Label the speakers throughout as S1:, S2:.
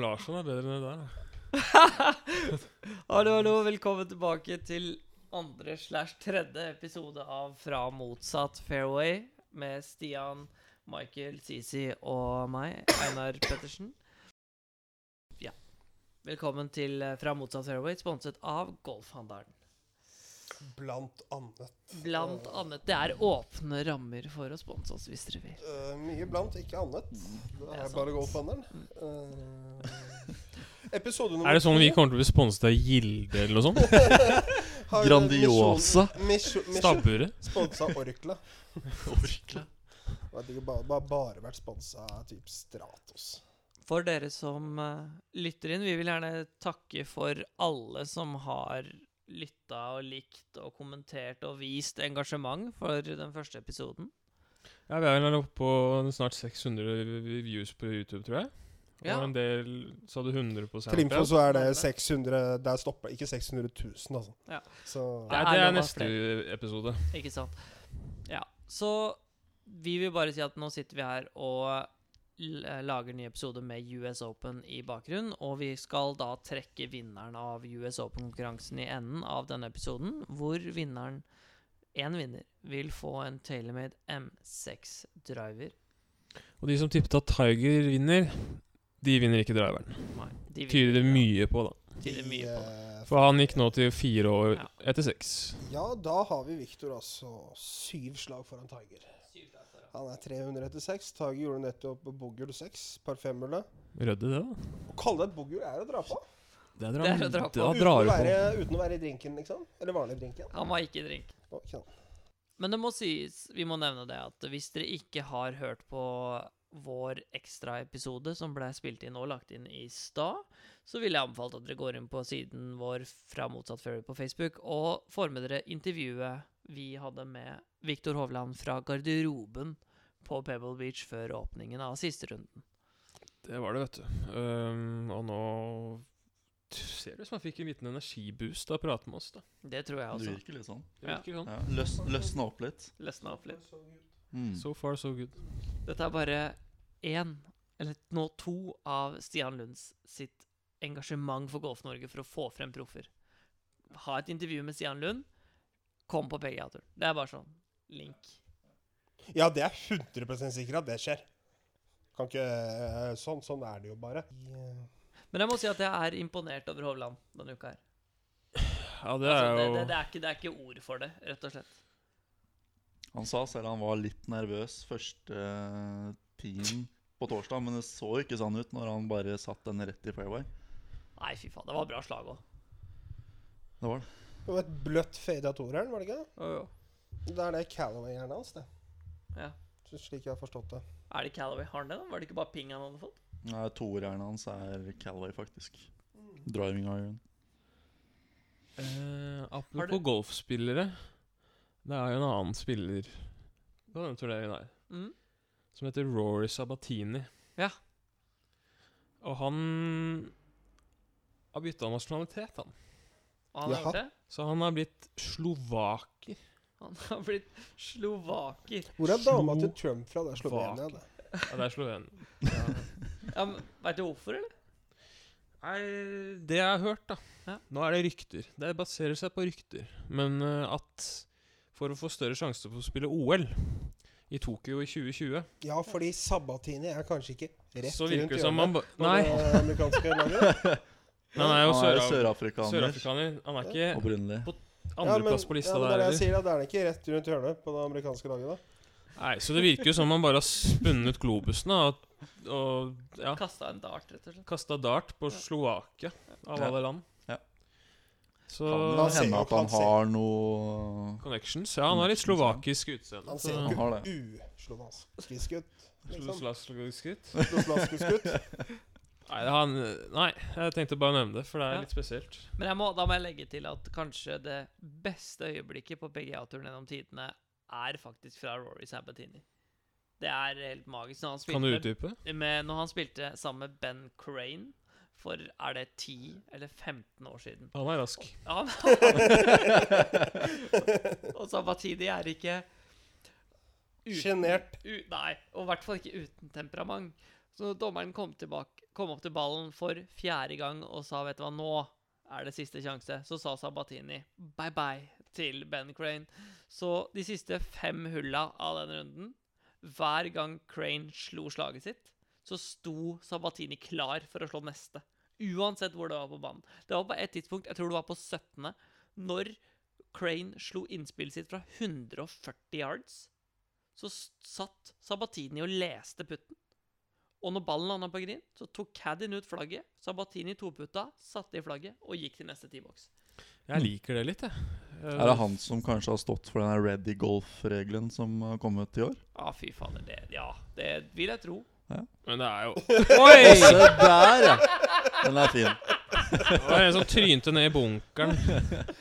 S1: Larsson er bedre enn det der. da.
S2: Hallo, hallo, velkommen tilbake til andre slash tredje episode av Fra motsatt fairway med Stian, Michael, Sisi og meg, Einar Pettersen. Ja. Velkommen til eh, Fra motsatt fairway, sponset av Golfhandelen.
S3: Blant annet.
S2: Blant annet. Det er åpne rammer for å sponse oss hvis dere vil.
S3: Eh, mye blant, ikke annet. Det
S2: Mm. Det er
S3: er bare
S2: sant. Mm.
S3: golfhandelen. Eh, episode nummer
S1: Er det sånn vi
S3: to
S1: kommer til å bli sponset av Gilde eller noe sånt?
S3: har jo
S4: Grandiosa.
S3: misjon- misjon- misjon-
S1: Stabburet?
S3: Sponsa Orkla.
S4: Orkla.
S3: Jeg vet ikke, bare, bare, bare vært sponsa typ Stratos.
S2: For dere som eh, lytter inn, vi vil gjerne takke for alle som har lytta og likt og kommentert og vist engasjement for den første episoden.
S1: Ja, vi er vel oppe på snart 600 views på YouTube, tror jeg. Og
S2: Ja.
S1: en del sa du 100 på
S3: Trimfo
S1: SoundCloud.
S3: så er det 600 Der stopper det. Ikke 600 000, altså.
S2: Ja.
S3: Så
S1: Nei,
S2: Det
S1: det
S2: er
S1: er
S2: lov å ha
S1: neste episode.
S2: Ikke sant? Ja. Så vi vil bare si at nå sitter vi her og l- lager nye episoder med US Open i bakgrunnen, og vi skal da trekke vinneren av US Open-konkurransen i enden av denne episoden, hvor vinneren, én vinner, vil få en TaylorMade M6-driver.
S1: Og de som tippet at Tiger vinner, de vinner ikke driveren.
S2: Nei, de vil
S1: Tyder det
S2: ikke.
S1: mye på, da.
S2: Tyder det mye på det.
S3: eh,
S1: For han gikk nå til fire år
S2: Ja.
S1: etter seks.
S3: Ja, da har vi Victor altså syv slag foran Tiger. Han er 300 etter seks. Tiger gjorde nettopp boogel seks, par femhullet.
S1: Rødde, det, da.
S3: Å kalle det et boogel er å dra på.
S1: Det
S2: Det er å dra på.
S1: Da
S3: uten, å
S1: drar du
S3: være,
S1: på.
S3: uten å være i drinken, liksom. Eller vanlig drinken.
S2: Han var ikke i drink.
S3: Å, ikke sant.
S2: Men det må sies, vi må nevne det, at hvis dere ikke har hørt på vår ekstraepisode som ble spilt inn og lagt inn i stad, så ville jeg anbefalt at dere går inn på siden vår fra Motsatt Fairy på Facebook og får med dere intervjuet vi hadde med Viktor Hovland fra garderoben på Pebble Beach før åpningen av siste runden.
S1: Det var det, vet du. Ehm, og nå t- ser det ut som han fikk en liten energiboost av å prate med oss, da.
S2: Det tror jeg
S4: Du
S2: også.
S4: virker litt sånn.
S1: Det
S2: Ja.
S1: virker sånn.
S4: Ja. Løs, løsna opp litt.
S2: Løsna opp litt.
S4: Mm.
S1: So far, so good.
S2: Dette er bare én, eller nå to, av Stian Lunds sitt engasjement for Golf-Norge for å få frem proffer. Ha et intervju med Stian Lund. Kom på PGA-turen. Det er bare sånn. Link.
S3: Ja, det er 100 sikkert at det skjer. Kan ikke eh, Sånn, sånn er det jo bare.
S2: Men jeg må si at jeg er imponert over Hovland denne uka her.
S1: Ja, det
S2: Altså,
S1: er
S2: det,
S1: jo
S2: det, det, er ikke, det er ikke ord for det, rett og slett.
S4: Han sa selv han var litt nervøs første eh, tien på torsdag, men det så ikke sånn ut når han bare satt den rett i fairway.
S2: Nei, fy faen. Det var bra slag òg.
S4: Det var det.
S3: Det var et bløtt fade av toeren, var det ikke?
S2: Er
S3: det? Da er det Calaway-hjernen hans, det.
S2: Ja.
S3: Så Slik jeg har forstått det.
S2: det Calaway? Har han det? da? Var det ikke bare ping han hadde fått?
S4: Nei, Toerhjernen hans er Calway, faktisk. Driving iron.
S1: Eh,
S2: Har
S1: apropos
S2: du-
S1: golfspillere. Det er jo en annen spiller på denne turneringen her,
S2: Mm.
S1: som heter Rory Sabatini.
S2: Ja.
S1: Og han har bytta nasjonalitet, han.
S2: Og han har
S3: Jaha.
S2: gjort det?
S1: Så han har blitt slovaker.
S2: Han har blitt slovaker.
S3: Hvor er dama
S1: Slo-
S3: til Trump fra? Det er Slovenia, det.
S1: Ja, det er Sloven.
S2: Ja, men Veit du hvorfor, eller?
S1: Nei, det jeg har hørt, da.
S2: Ja.
S1: Nå er det rykter. Det baserer seg på rykter. Men eh, at for å få større sjanse for å spille OL i Tokyo i 2020,
S3: Ja, fordi Sabatini er kanskje ikke rett
S1: så virker
S3: rundt
S1: det som han
S3: hjørnet.
S1: ba... Nei,
S3: Nei. Det amerikanske laget.
S1: han er jo
S4: Han er jo
S1: søraf-
S4: sørafrikaner.
S1: sørafrikaner. Han er ikke
S4: Opprinnelig.
S1: Andreplass på lista
S3: ja, men det
S1: der,
S3: er det jeg
S1: eller?
S3: sier, da. Det er ikke rett rundt hjørnet på det amerikanske laget, da.
S1: Nei, så det virker jo som man bare har spunnet globusen da, og, og ja,
S2: Kasta en dart, rett og slett.
S1: kasta dart på Slovakia, av
S4: Ja.
S1: alle land.
S4: Ja.
S1: Så
S4: Kan
S3: Han
S4: det
S3: ser jo
S4: hende at
S3: han
S4: han
S3: ser-
S4: har noe
S1: Connections. Ja, han har litt slovakisk utseende.
S3: Han ser
S1: så-
S3: jo
S4: Han har det.
S3: ikke uslovansk ut. Liksom.
S1: Slovakisk ut.
S3: Slovakisk ut.
S1: Nei, han, nei, jeg tenkte bare å nevne det, for det
S2: Ja.
S1: er litt spesielt.
S2: Men jeg må, da må jeg legge til at kanskje det beste øyeblikket på PGA-turen gjennom tidene er faktisk fra Rory Sabatini. Det er helt magisk. Når han
S1: Kan du
S2: spilte,
S1: utdype?
S2: med, når han spilte sammen med Ben Crane for er det 10 eller 15 år siden
S1: Han er rask.
S2: ja, han- Og Sabatini er ikke
S3: Sjenert.
S2: u, Nei, og i hvert fall ikke uten temperament. Så dommeren kom, tilbake, kom opp til ballen for fjerde gang og sa, vet du hva, nå er det siste sjanse. Så sa Sabatini bye-bye til Ben Crane. Så de siste fem hulla av den runden, hver gang Crane slo slaget sitt, så sto Sabatini klar for å slå neste. Uansett hvor det var på banen. Det var på et tidspunkt, jeg tror det var på 17., når Crane slo innspillet sitt fra 140 yards, så s- satt Sabatini og leste putten. Og når ballen landa på green, så tok Caddien ut flagget. Sabatini toputa, satte i flagget og gikk til neste T-boks.
S1: Jeg liker det litt, jeg.
S4: Er det han som kanskje har stått for denne ready golf-regelen som har kommet i år?
S2: Å, fy fader. Det, ja, det vil jeg tro.
S1: Eh, Men det er jo
S4: Se
S1: Oi!
S4: der, ja! Den er fin.
S1: Det var en som trynte ned i bunkeren.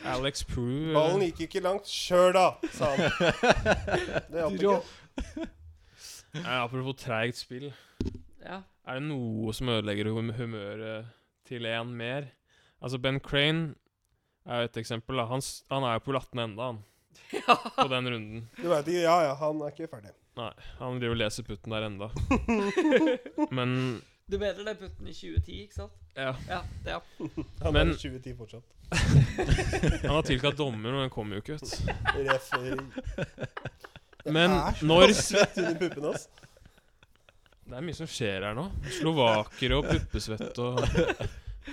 S1: Alex Prue. eller-
S3: Ballen gikk ikke langt sjøl, da, sa han. Det hjalp ikke.
S1: Nei, apropos treigt spill.
S2: Ja.
S1: Er det noe som ødelegger hum humøret til en mer? Altså, Ben Crane er jo et eksempel. Da. Han, s- han er jo på latten enda, han. På den runden.
S3: Du vet, ikke- ja, ja, han er ikke ferdig.
S1: Nei, han driver og leser putten der enda. Men
S2: Du mener det putten i 2010, ikke sant?
S1: ja,
S2: Ja, det er
S3: Han
S1: Men-
S3: er 2010 fortsatt.
S1: han har tilkalt dommer, men den kommer jo ikke ut.
S3: Referer.
S1: Men
S3: er så
S1: når-
S3: svett under puppene hans.
S1: Det er mye som skjer her nå. Slovakere og puppesvett og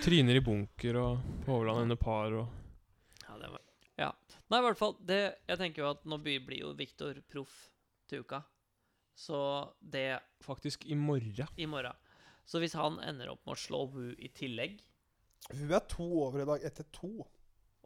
S1: tryner i bunker og Hovland under par og
S2: Ja, det var Ja. Nei, i hvert fall det, Jeg tenker jo at nå blir blir jo Viktor proff til uka. Så det
S1: Faktisk i morgen.
S2: i morgen. Så hvis han ender opp med å slå Wu i tillegg
S3: Hun er to over i dag etter to.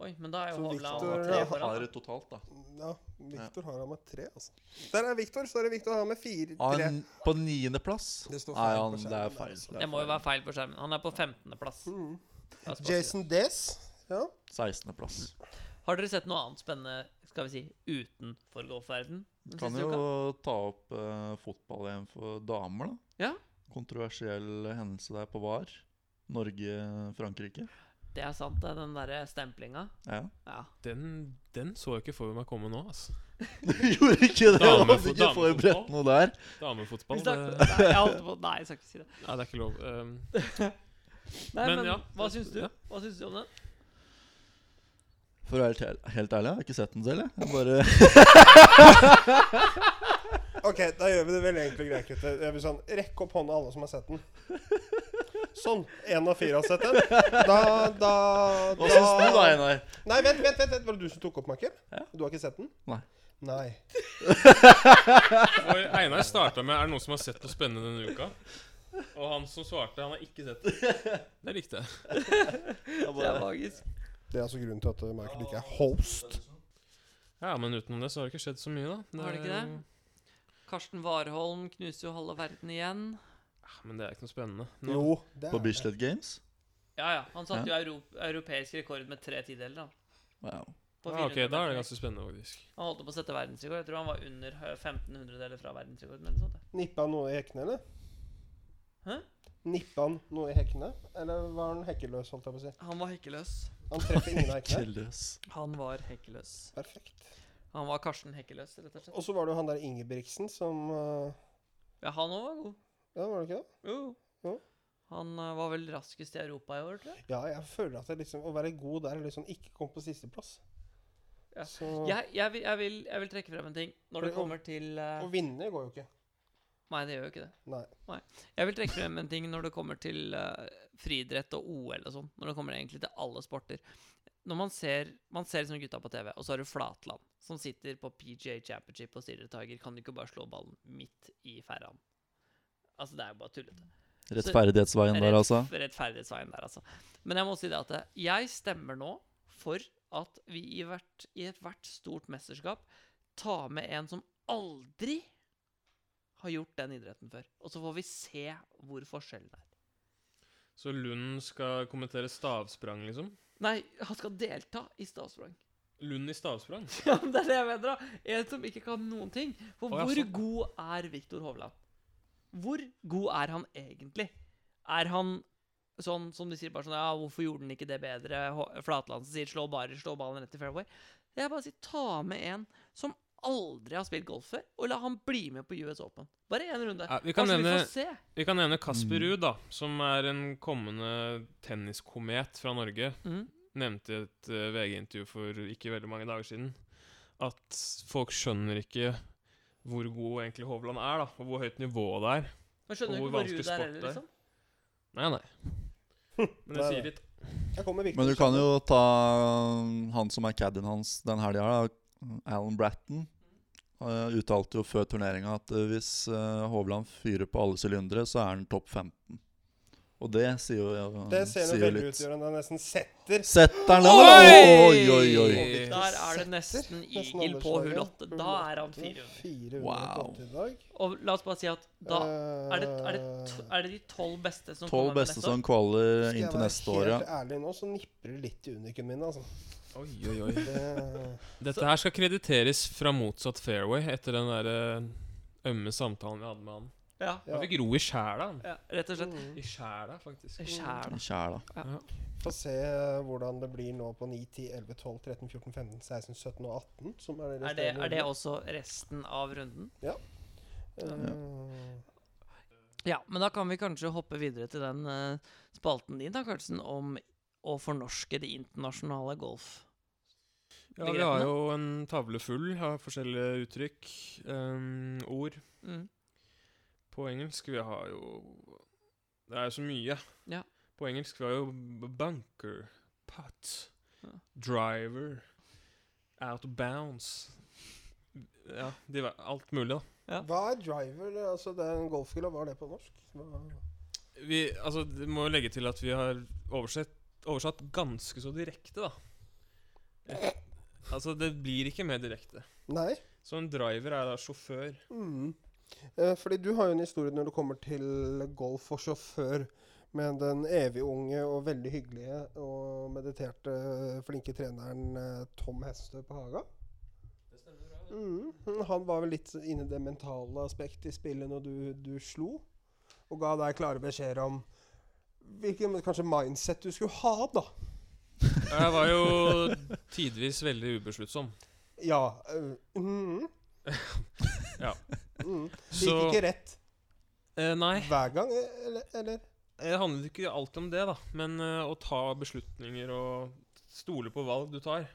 S2: Oi, men da er jo
S3: Så
S2: Hovland
S3: Victor
S2: tre
S3: har-
S2: foran.
S4: det totalt, da.
S3: Ja, Viktor har han med tre, altså. Der er Viktor, så er det Viktor han har med fire.
S4: Er
S3: Tre.
S4: han på niendeplass?
S3: Det står
S4: Nei,
S3: feil på
S4: han, det
S3: skjermen
S4: er
S3: der,
S4: feil.
S3: altså.
S4: Det
S2: Det
S4: er
S2: må jo
S4: feil.
S2: være feil på skjermen. Han er på 15.-plass.
S3: Mm.
S2: Ja, spasier.
S3: Jason Des. Ja.
S4: 16.-plass.
S2: Har dere sett noe annet spennende skal vi si, utenfor golfverden? den
S4: Kan
S2: siste
S4: jo
S2: uka?
S4: ta opp eh, fotball-EM for damer, da.
S2: Ja.
S4: Kontroversiell hendelse der på VAR. Norge-Frankrike.
S2: Det er sant, det. er Den eh, derre stemplinga.
S4: Ja.
S2: Ja.
S1: Den, den så jeg ikke for meg komme nå, altså.
S4: Gjorde ikke det!
S1: Damefo-
S4: Hadde ikke forberedt
S1: damefotball.
S4: noe der.
S2: Vi
S1: Damefotball, det,
S2: snakker-
S1: nei,
S2: Nei, jeg holdt på Nei, jeg skal ikke si det.
S1: det er ikke lov. Um,
S2: Nei,
S1: Men
S2: men,
S1: ja,
S2: hva
S1: det-
S2: syns du?
S1: ja.
S2: Hva syns du om den?
S4: For å være helt, ærlig- helt ærlig, jeg har ikke sett den selv. Jeg. Jeg bare,
S3: Ok, da gjør vi det veldig enkelt og greit, gutter. Jeg vil Sånn, rekk opp hånda, alle som har sett den. Sånn. Én av fire har sett den. Da, da,
S4: hva syns du da, Einar?
S3: Nei, vent, vent, vent, vent. Var det du som tok opp, Michael? Du har ikke sett den?
S4: Nei.
S3: Nei.
S1: for Einar starta med 'Er det noen som har sett noe spennende denne uka?' Og han som svarte, han har ikke sett det. Det likte jeg.
S4: Jeg
S2: Det er
S4: bare,
S2: magisk.
S3: Det er altså grunnen til at Michael ikke er host.
S1: Ja, Men utenom det så har det ikke skjedd så mye, da.
S2: Har det ikke
S1: er
S2: det?
S1: jo-
S2: Karsten Warholm knuser jo halve verden igjen.
S1: Ja, Men det er ikke noe spennende. Nå,
S3: Jo, det
S4: på
S3: er det.
S4: Bislett Games?
S2: Ja, ja. Han satte jo euro europeisk rekord med tre tideler, da.
S4: Wow.
S2: På
S1: ja, ok,
S2: 400
S1: Da er det
S2: meter.
S1: ganske spennende, faktisk.
S2: Han holdt på å sette verdensrekord. Jeg tror han var under eh, 1500 deler fra verdensrekorden. eller noe sånt.
S3: Nippa han noe i hekkene, eller?
S2: Hæ?
S3: Nippa han noe i hekkene? Eller var han hekkeløs, holdt jeg på å si?
S2: Han var hekkeløs.
S3: Han treffer ingen av hekkene.
S4: Kjelløs.
S2: Han var hekkeløs.
S3: Perfekt.
S2: Han var Karsten Hekkeløs, rett og slett.
S3: Og så var det jo han der Ingebrigtsen som eh,
S2: Ja, han òg var god.
S3: Ja, var det ikke det?
S2: Jo.
S3: Jo.
S2: Han eh, var vel raskest i Europa i år, tror jeg.
S3: Ja, jeg føler at det liksom, å være god der er liksom ikke komme på sisteplass.
S2: Ja.
S3: Så
S2: Jeg, jeg, vil, jeg, vil, jeg vil trekke frem en ting når det
S3: Fordi-
S2: kommer til eh,
S3: Å vinne går jo ikke.
S2: Nei, det gjør jo ikke det.
S3: Nei.
S2: Jeg vil trekke frem en ting når det kommer til eh, friidrett og OL og sånn. Når det kommer egentlig til alle sporter. Når man ser, man ser liksom gutta på TV, og så har du Flatland, som sitter på PGA Championship og sier til Tiger Kan du ikke bare slå ballen midt i ferran? Altså, det er jo bare tullete.
S4: Rettferdighetsveien der, altså.
S2: Rett- Rettferdighetsveien der, altså. Men jeg må si det at eh, jeg stemmer nå for at vi i, hvert, i ethvert stort mesterskap tar med en som aldri har gjort den idretten før. Og så får vi se hvor forskjellen er.
S1: Så Lund skal kommentere stavsprang, liksom?
S2: Nei, han skal delta i stavsprang.
S1: Lund i stavsprang?
S2: Ja, men det er det jeg mener, da. En som ikke kan noen ting. For
S1: Å, ja,
S2: hvor
S1: sånn.
S2: god er Viktor Hovland? Hvor god er han egentlig? Er han sånn som de sier bare sånn Ja, hvorfor gjorde han ikke det bedre? Ho- Flatland som sier slå bare, slå ballen rett i fairway. Jeg bare sier ta med en som aldri har spilt golf før, og la han bli med på US Open. Bare én runde.
S1: Ja, vi kan
S2: Bare så
S1: nevne-
S2: får se.
S1: Vi kan nevne Kasper
S4: Mm.
S1: Ruud, da, som er en kommende tenniskomet fra Norge.
S2: Mm.
S1: Nevnte i et eh, VG-intervju for ikke veldig mange dager siden at folk skjønner ikke hvor god egentlig Hovland er, da, og hvor høyt nivået det er.
S2: Man skjønner
S1: Og
S2: jo
S1: hvor
S2: ikke hvor
S1: vanskelig
S2: Ruud er
S1: sport
S2: heller,
S1: det er.
S2: liksom.
S1: Nei, nei. Men det
S3: Nei, nei.
S1: sier litt.
S3: Jeg kommer Victor
S4: Men du kan jo ta um, han som er caddien hans den helga, da, Alan Bratton. Uh, uttalte jo før turneringa at uh, hvis uh, Hovland fyrer på alle sylindere, så er han topp 15. Og det sier jo ja,
S3: Det ser jo
S4: sier jo
S3: veldig ut, Jørgen. Han nesten setter
S4: Setter han den? Oi,
S2: Oi!
S4: oi, oi!
S1: Oi.
S2: Der er det
S3: Setter.
S2: nesten
S3: Nesten
S2: eagle på
S3: overslaget.
S2: hull åtte. Da er han 400.
S3: 400
S4: Wow.
S3: kom til i dag. Eh,
S2: Og la oss bare si at da er det, er det, to,
S4: Eh,
S2: er det de tolv beste som
S4: Tolv
S2: kommer
S4: beste
S2: neste år?
S4: som kvaler inn til neste
S3: Skal
S4: år,
S3: jeg
S4: ja.
S3: være helt ærlig nå, så nipper det litt i uniken min, altså.
S1: Oi, oi, oi.
S3: Det,
S1: Dette her skal krediteres fra motsatt fairway etter den der eh, ømme samtalen vi hadde med han.
S2: Ja,
S3: ja.
S1: Han fikk ro i sjæla. han.
S2: ja, rett og slett.
S3: Mm.
S1: I sjæla, faktisk.
S2: Kjæl.
S4: Kjæla.
S3: Få se eh, hvordan det blir nå på 9, 10, 11, 12, 13, 14, 15, 16, 17 og 18. Som er,
S2: Er det, er det også resten av runden?
S3: Eh,
S2: Ja, men da kan vi kanskje hoppe videre til den eh, spalten din, da, Karlsen, om å fornorske det internasjonale golf.
S1: Ja, vi har jo en tavle full av forskjellige uttrykk, ehm, ord
S2: Mm.
S1: på engelsk. Vi har jo Det er jo så mye.
S2: Ja.
S1: På engelsk vi har jo b- bunker, putt,
S2: Ja.
S1: driver, out of bounds Ja, de, var- alt mulig, da.
S3: Hva er driver? Altså, det er en golfgrill, og hva er det på norsk? Hva-
S1: Vi altså, det må jo legge til at vi har oversett, oversatt ganske så direkte, da. Et, altså, det blir ikke mer direkte.
S3: Nei.
S1: Så en driver er da sjåfør.
S3: Mm. Eh, Fordi du har jo en historie når det kommer til golf og sjåfør. Med den evig unge og veldig hyggelige og mediterte flinke treneren eh, Tom Hestø på Haga. Mm. Han var vel litt inne i det mentale aspektet i spillet når du, du slo. Og ga deg klare beskjeder om hvilken kanskje mindset du skulle ha, da.
S1: Jeg var jo tidvis veldig ubesluttsom.
S3: Ja. eh, Mm.
S1: Ja.
S3: Mm. Det
S1: Så
S3: gikk ikke rett
S1: eh, Nei,
S3: hver gang, eh, eller? eller?
S1: det handlet ikke alltid om det, da. Men eh, å ta beslutninger og stole på valg du tar.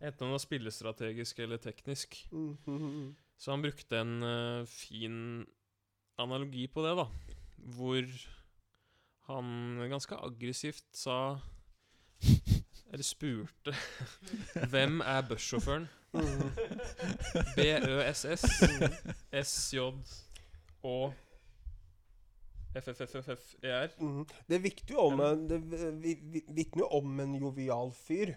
S1: Enten om det er spillestrategisk eller teknisk.
S3: Mm, mm, mm.
S1: Så han brukte en eh, fin analogi på det, da. Hvor han ganske aggressivt sa Eller spurte Hvem er bussjåføren?
S3: Mm.
S1: BØSS, SJ og FFFFFER.
S3: Mhm. Det vitner jo om en, det vi- vi- vitner jo om en jovial fyr.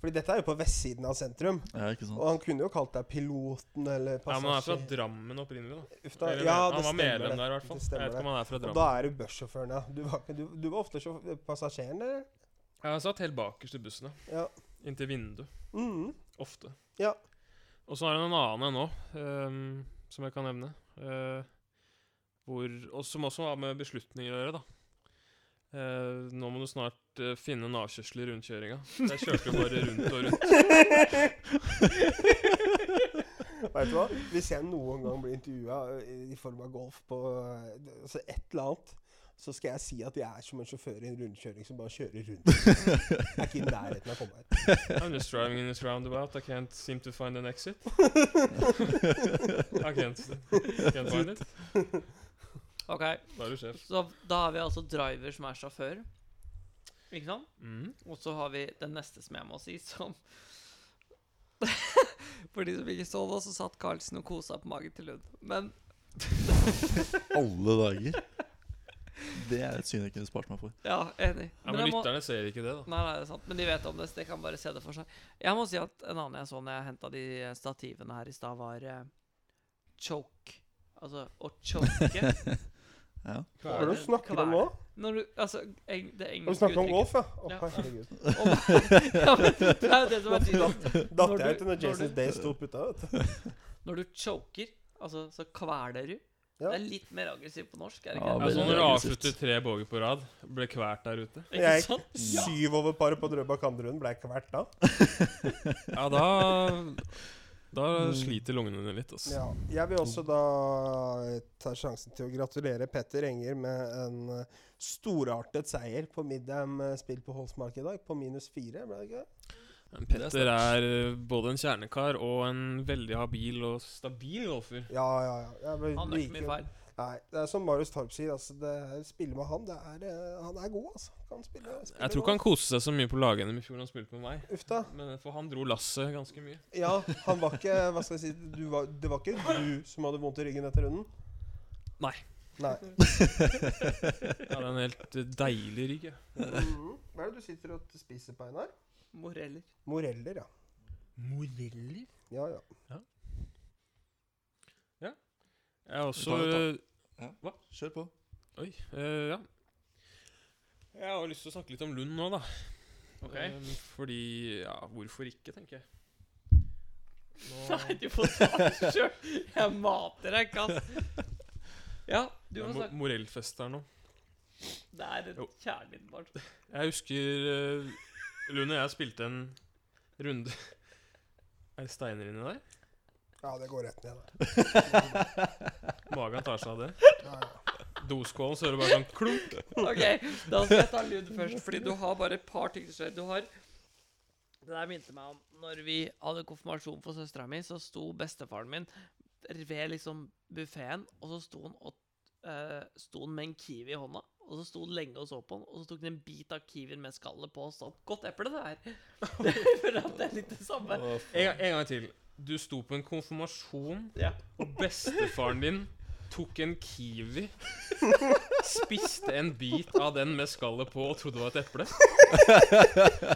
S3: Fordi dette er jo på vestsiden av sentrum.
S4: Ja, ikke sånn sant?
S3: Og han kunne jo kalt deg piloten eller
S1: Ja, men han er fra
S3: passasjer.
S1: Drammen opprinnelig, da.
S3: Uff da.
S1: Eller,
S3: Ja,
S1: han
S3: det
S1: var medlem
S3: stemmer det.
S1: der, i hvert fall.
S3: Det stemmer
S1: Jeg vet ikke om han er fra
S3: Og
S1: Drammen.
S3: da er du bussjåføren, ja. Du var, ikke- du, du var ofte sjå- passasjeren, eller?
S1: Jeg satt helt bakerst i bussen, ja.
S3: Ja.
S1: Inntil vinduet.
S3: Mhm.
S1: Ofte.
S3: Ja.
S1: Og så er det en annen ennå, ehm, som jeg kan nevne. eh, hvor, og som også har med beslutninger å gjøre, da. Eh, nå må du snart eh, finne en avkjørsel i rundkjøringa. Jeg kjørte jo bare rundt og rundt.
S3: Vet du hva? Hvis jeg noen gang blir intervjua i form av golf på eh, altså et eller annet, så skal jeg si at jeg er som en sjåfør i en rundkjøring som bare kjører rundt. Jeg er ikke i nærheten av å komme her.
S1: I'm just driving in this roundabout. I can't seem to find an exit. I can't, can't find it.
S2: Ok,
S1: Da er du sjef.
S2: så da har vi altså driver som er sjåfør. Ikke sant?
S1: Mm.
S2: Og så har vi den neste som jeg må si, som For de som ikke så det, så satt Karlsen og kosa på magen til Lund. Men
S4: Alle dager. Det er et syn jeg kunne spart meg for.
S2: ja, enig.
S1: Ja, men
S2: jeg må-
S1: lytterne ser ikke det, da.
S2: Nei, nei, det er sant. Men de vet om det, så de kan bare se det for seg. Jeg må si at en annen jeg så når jeg henta de eh, stativene her i stad, var eh, choke. Altså å choke.
S4: Ja.
S3: Hva er det du snakker om nå?
S2: Når du Altså, eng, det
S3: Har du
S2: engelske
S3: snakket om
S2: uttrykket
S3: golf, ja? Å,
S2: Ja.
S3: herregud.
S2: Om- ja, men det er jo det som er tydelig.
S3: Datt
S2: Når
S3: jeg
S2: du-
S3: ut når
S2: når
S3: Jason
S2: du-
S3: Day sto og putta, vet du.
S2: Når du choker, altså, så kveler du.
S3: Ja.
S2: Det er litt mer aggressivt på norsk, er det
S4: Ja,
S1: Ja,
S2: ikke?
S1: så
S4: veldig
S1: når du
S4: aggressivt.
S1: avslutter tre boger på rad, ble kvært der ute
S2: ikke
S3: Jeg-
S2: sant?
S3: Syv over paret på Drøbak andre runde ble jeg kvert da.
S1: Ja, da Da
S3: Mm.
S1: sliter lungene dine litt, altså.
S3: Ja, jeg vil også da eh, ta sjansen til å gratulere Petter Enger med en eh, storartet seier på Midham eh, spill på Holsmark i dag, på minus fire. ble det ikke det?
S1: Men
S4: Det er
S1: Petter er eh, både en kjernekar og en veldig habil og stabil golfer.
S3: Ja, ja, ja. Jeg vil
S2: Han gjør ikke
S3: like-
S2: mye feil.
S3: Nei, det er som Marius Torp sier, altså, det er- spille med han, det er, eh, han er god, altså. Kan spille, spille
S1: Jeg tror ikke han koste seg så mye på lag-NM i fjor han spilte med meg.
S3: Uff da.
S1: Men eh, For han dro lasset ganske mye.
S3: Ja, han var ikke Hva skal jeg si du var, Det var ikke du som hadde vondt i ryggen etter runden?
S2: Nei.
S3: Nei.
S1: Ja, det er en helt eh, deilig rygg. jeg.
S3: Mhm. Hva er det du sitter og spiser på, Einar?
S2: Moreller.
S3: Moreller, ja.
S1: Moreller?
S3: Ja, ja.
S1: Jeg er også
S4: Ta det,
S1: eh,
S4: Kjør på.
S1: Oi. eh, ja. Jeg har lyst til å snakke litt om Lund nå, da.
S2: Ok.
S1: Eh, fordi Ja, hvorfor ikke, tenker jeg. Nå-
S2: Nei, du får ta det sjøl. Jeg mater deg, kass. Ja, du
S1: Det
S2: må
S1: er mo-
S2: snakke.
S1: Morellfest her nå.
S2: Det er
S1: Jo.
S2: et kjærlighetsbarn.
S1: Jeg husker eh, Lund og jeg spilte en runde Er det steiner inni der?
S3: Ja, det går rett ned, da.
S1: Magen tar seg av det.
S3: Ja, ja.
S1: Doskålen så hører du bare sånn klump.
S2: Ok, da skal jeg ta lyd først, fordi du har bare et par ting som skjer. Du har Det der minte meg om Når vi hadde konfirmasjon for søstera mi, så sto bestefaren min ved liksom buffeen, og så sto han, og, eh, sto han med en kiwi i hånda. Og så sto han lenge og så på den, og så tok han en bit av kiwien med skallet på og sa Godt eple, det her. For at det er litt det samme.
S1: En, gang- en gang til. Du sto på en konfirmasjon,
S2: Ja.
S1: og bestefaren din tok en kiwi, spiste en bit av den med skallet på og trodde det var et eple.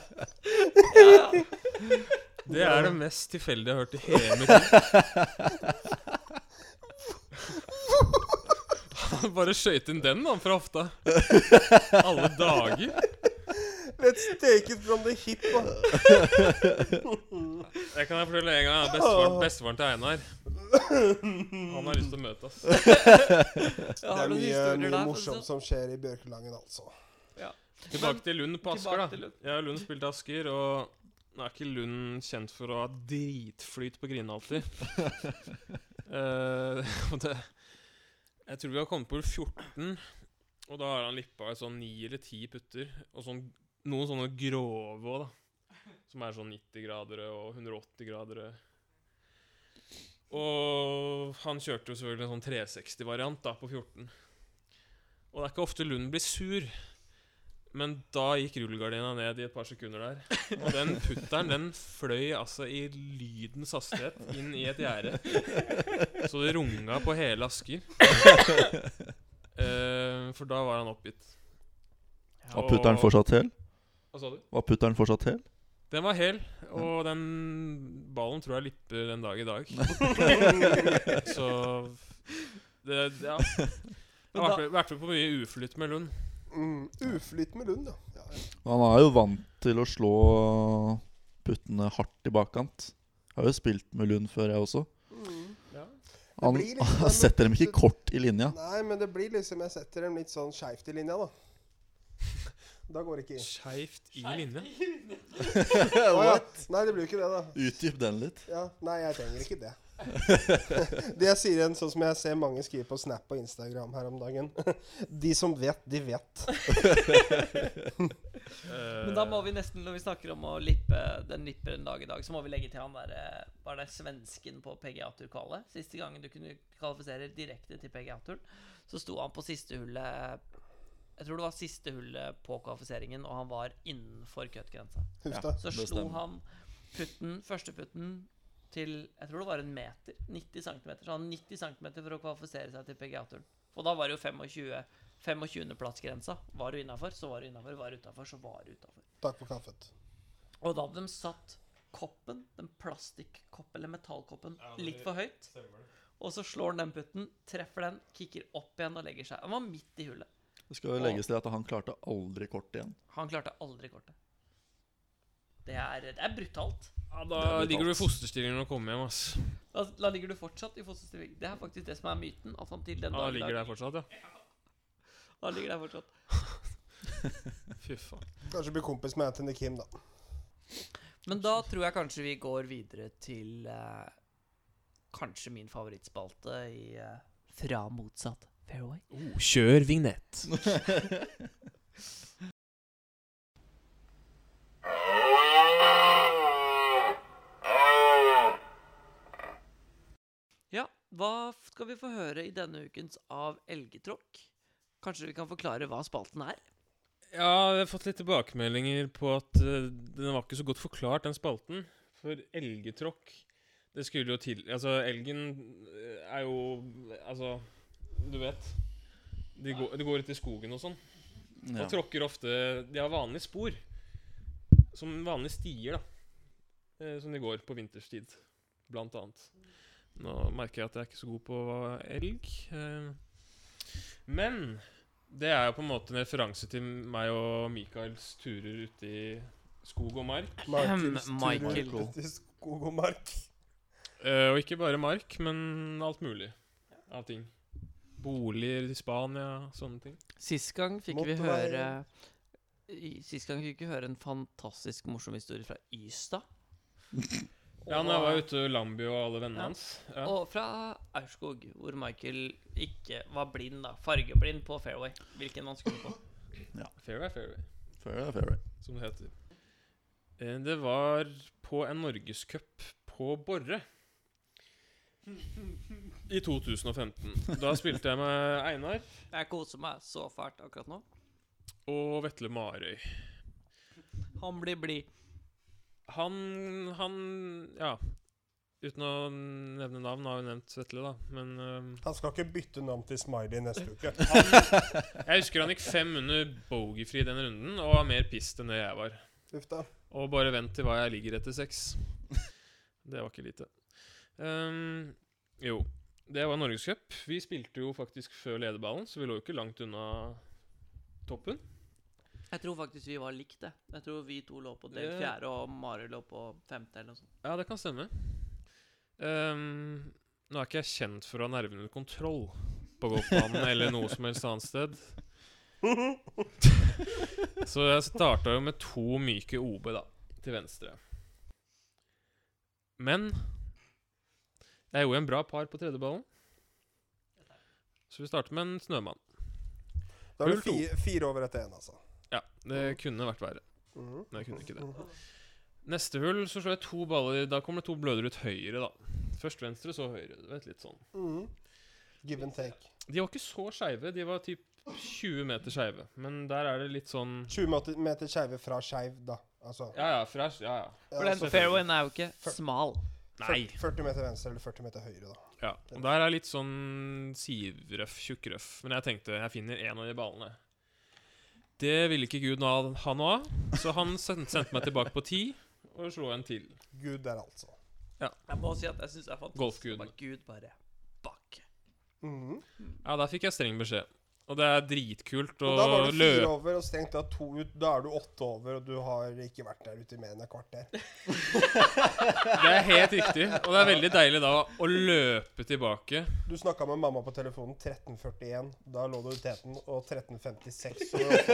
S2: Ja, ja.
S1: Det er det mest tilfeldige jeg har hørt i hele mitt liv. Han bare skøyt inn den, han, fra hofta. Alle dager.
S3: Let's take it from the hip, da.
S1: Jeg kan jeg fortelle en gang. Bestefaren, bestefaren til Einar. Han har lyst til å møte oss.
S2: Jeg
S3: Det
S2: har
S3: er
S2: noen
S3: mye,
S2: historier der. men
S3: mye
S2: så-
S3: morsomt som skjer i Bjørkelangen, altså.
S1: Tilbake til Lund på Asker,
S2: tilbake til
S1: da.
S2: Lund.
S1: Jeg og Lund spilte Asker, og nå er ikke Lund kjent for å ha dritflyt på grinene alltid. Eh, og det, jeg tror vi har kommet på 14, og da har han lippa i sånn 9 eller 10 putter. Og sånn, noen sånne grove òg, da. Som er sånn 90-gradere og 180-gradere. Og han kjørte jo selvfølgelig en sånn 360-variant da på 14. Og det er ikke ofte Lund blir sur. Men da gikk rullegardina ned i et par sekunder der. Og den putteren den fløy altså i lydens hastighet inn i et gjerde. Så det runga på hele Asker. Eh, for da var han oppgitt.
S4: Var putteren fortsatt hel?
S1: Hva sa du?
S4: Var putteren fortsatt hel?
S1: Den var hel, og den ballen tror jeg lipper den dag i dag. Så det, Ja. Jeg har vært med- vært med på mye uflytt med Lund.
S3: Mm, uflyt med Lund, da. Ja, ja.
S4: Han er jo vant til å slå puttene hardt i bakkant. Jeg har jo spilt med Lund før, jeg også.
S3: Mm.
S1: Ja.
S4: Han
S3: blir litt sånn-
S4: setter dem ikke kort i linja.
S3: Nei, men det blir liksom Jeg setter dem litt sånn skeivt i linja, da. Da går det ikke inn.
S1: Skeivt i linja.
S3: Å, ja. Nei, det blir jo ikke det, da.
S4: Utdyp den litt.
S3: Ja, nei, jeg trenger ikke det. det jeg sier igjen, sånn som jeg ser mange skrive på Snap og Instagram her om dagen De som vet, de vet.
S4: Eh,
S2: Men da må vi nesten, når vi snakker om å lippe den lipper en dag i dag, så må vi legge til han derre Var det svensken på PGA-turkvalet? Siste gangen du kunne kvalifisere direkte til PGA-turen, så sto han på siste hullet eh, Jeg tror det var siste hullet på kvalifiseringen, og han var innenfor cutgrensa.
S3: Huff da.
S2: Så
S4: Det
S2: slo
S4: stemmer.
S2: han putten, første putten til Jeg tror det var en meter. 90 cm. Så han hadde 90 cm for å kvalifisere seg til PGA-turen. Og da var det jo 25 25.-plassgrensa. Var du innafor, så var du innafor. Var du utafor, så var du utafor.
S3: Takk for kaffen.
S2: Og da hadde de satt koppen, den plastikkoppen eller metallkoppen,
S1: Ja, det-
S2: litt for høyt. Og så slår han den putten, treffer den, kicker opp igjen og legger seg. Han var midt i hullet.
S4: Det skal jo legges til at han klarte aldri kort igjen.
S2: Han klarte aldri kortet. Det er, det er brutalt.
S1: Ja,
S4: Det
S1: da
S4: er brutalt.
S1: ligger du i fosterstillingen og kommer hjem, ass.
S2: Da, da ligger du fortsatt i fosterstilling. Det er faktisk det som er myten. At han til den
S1: Ja,
S2: dag
S1: han
S2: i
S1: ligger der
S2: dag
S1: fortsatt, ja.
S2: Han ligger der fortsatt.
S1: Fy faen.
S3: Kanskje bli kompis med Anthony Kim, da.
S2: Men da tror jeg kanskje vi går videre til eh, kanskje min favorittspalte i eh, Fra motsatt fairway.
S1: Kjør vignett.
S2: Ja, hva f- skal vi få høre i denne ukens Av elgetråkk? Kanskje vi kan forklare hva spalten er?
S1: Ja, jeg har fått litt tilbakemeldinger på at eh, den var ikke så godt forklart, den spalten. For elgetråkk Det skulle jo til Altså, elgen eh, er jo Altså, du vet. De går, de går ut i skogen og sånn. Og
S4: Ja.
S1: tråkker ofte De har vanlige spor. Som vanlige stier, da. Eh, Som de går på vinterstid, blant annet. Nå merker jeg at jeg er ikke så god på elg. eh, Men det er jo på en måte en referanse til meg og Michaels turer ute i skog og mark.
S3: Michaels
S2: Michael.
S3: turer ut i skog og mark.
S1: Eh, Og ikke bare mark, men alt mulig av ting. Boliger i Spania, sånne ting.
S2: Sist gang fikk vi høre
S3: Motorvei.
S2: i- Sist gang fikk vi høre en fantastisk morsom historie fra Ystad.
S1: Ja, når jeg
S2: Og-
S1: var ute i Lambi og alle vennene
S2: Ja.
S1: hans. Ja.
S2: Og fra Aurskog, hvor Michael ikke var blind, da. Fargeblind på fairway. Hvilken man skulle på.
S1: Fairway, fairway.
S4: Fairway, fairway.
S1: som det heter. Eh, Det var på en norgescup på Borre. I 2015. Da spilte jeg med Einar
S2: Jeg koser meg så fælt akkurat nå.
S1: og Vetle Marøy.
S2: Han blir blid.
S1: Han Han Ja. Uten å nevne navn, har vi nevnt Vetle, da. Men eh,
S3: Han skal ikke bytte navn til Smiley neste uke.
S1: jeg husker han gikk fem under bogeyfri den runden og var mer pissed enn det jeg var.
S3: Uff da.
S1: Og bare vent til hva jeg ligger etter sex. Det var ikke lite. Ehm, jo, det var Norgescup. Vi spilte jo faktisk før lederballen, så vi lå jo ikke langt unna toppen.
S2: Jeg tror faktisk vi var likt, det. Jeg tror vi to lå på del
S1: Det-
S2: fjerde, og Mari lå på femte, eller noe sånt.
S1: Ja, det kan stemme. Ehm, nå er ikke jeg kjent for å ha nervene under kontroll på golfbanen eller noe som helst annet sted. Så jeg starta jo med to myke OB, da, til venstre. Men jeg gjorde en bra par på tredjeballen. Så vi starter med en snømann.
S3: Da er
S1: Hull
S3: det
S1: to.
S3: fire, fire over etter én, altså.
S1: Ja, det kunne vært verre.
S3: Mhm.
S1: Men jeg kunne ikke det. Neste hull så slår jeg to baller. Da kommer det to bløder ut høyre, da. Først venstre, så høyre. Du vet, litt sånn.
S3: Mhm. Give and take.
S1: De var ikke så skeive. De var typ 20 meter skeive. Men der er det litt sånn
S3: 20 meter- meter skeive fra skeiv, da. Altså
S1: Ja, ja, fresh. Ja, ja.
S3: ja,
S2: For den
S3: altså,
S2: fairwayen er jo ikke
S3: Før-
S2: smal.
S1: Nei.
S3: 40 40 meter venstre eller 40 meter høyre, da.
S1: Ja. Og der er litt sånn sivrøff, tjukkrøff. Men jeg tenkte jeg finner en av de ballene. Det ville ikke Gud ha ha noe av, så han sen- sendte meg tilbake på ti og slo en til.
S3: Gud der, altså.
S2: Jeg må si at jeg syns det er fantastisk.
S1: Golfguden.
S2: Bare Gud bare bak.
S3: Mhm.
S1: Ja, der fikk jeg streng beskjed. Og det er dritkult å
S3: Og da var du fire
S1: løpe
S3: over og strengt tatt to ut. Da er du åtte over, og du har ikke vært der ute i mer enn et kvarter.
S1: Det er helt riktig. Og det er veldig deilig da å løpe tilbake.
S3: Du snakka med mamma på telefonen 13.41. Da lå du i teten, og 13.56 så var det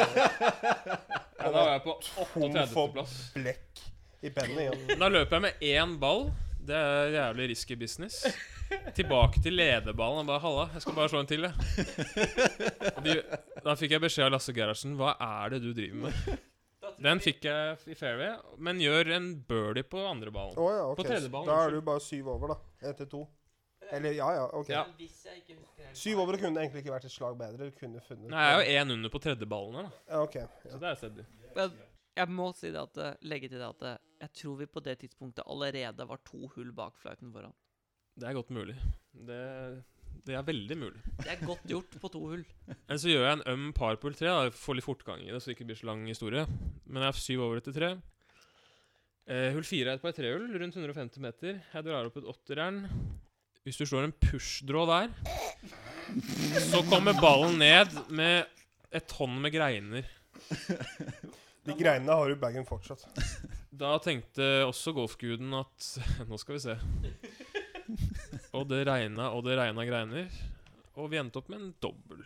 S1: Ja, da var jeg på
S3: tom for
S1: 38.-plass.
S3: blekk i pennen igjen.
S1: Da løper jeg med én ball. Det er jævlig risky business. Tilbake til lederballen. Jeg bare Halla, jeg skal bare slå en til, jeg. Og De, da fikk jeg beskjed av Lasse Gerhardsen. Hva er det du driver med? Den fikk jeg i fairway, men gjør en birdie på andre ballen.
S3: Å ja, ok.
S1: På tredje ballen,
S3: Da
S1: unnskyld.
S3: er du bare syv over, da. Etter to. Eller ja, ja. Ok.
S1: Ja.
S2: Hvis jeg ikke husker helt
S3: Syv over kunne egentlig ikke vært et slag bedre. Du kunne funnet
S1: Nei, jeg er jo én under på tredjeballene, da.
S3: Ja, ok. Ja.
S1: Så det er steady.
S2: Men jeg må si det at, eh, legge til det at eh, jeg tror vi på det tidspunktet allerede var to hull bak flighten foran.
S1: Det er godt mulig. Det, det er veldig mulig.
S2: Det er godt gjort på to hull.
S1: Men Eh, så gjør jeg en øm par på hull tre. da. Jeg Får litt fortgang i det, så det ikke blir så lang historie. Men jeg er syv over etter tre. Eh, hull fire er et par trehull, rundt 150 meter. Jeg drar opp et åtterjern. Hvis du slår en push-draw der, så kommer ballen ned med et tonn med greiner.
S3: De greinene har du i bagen fortsatt.
S1: Da tenkte også golfguden at Nå skal vi se. Og det regna og det regna greiner. Og vi endte opp med en dobbel.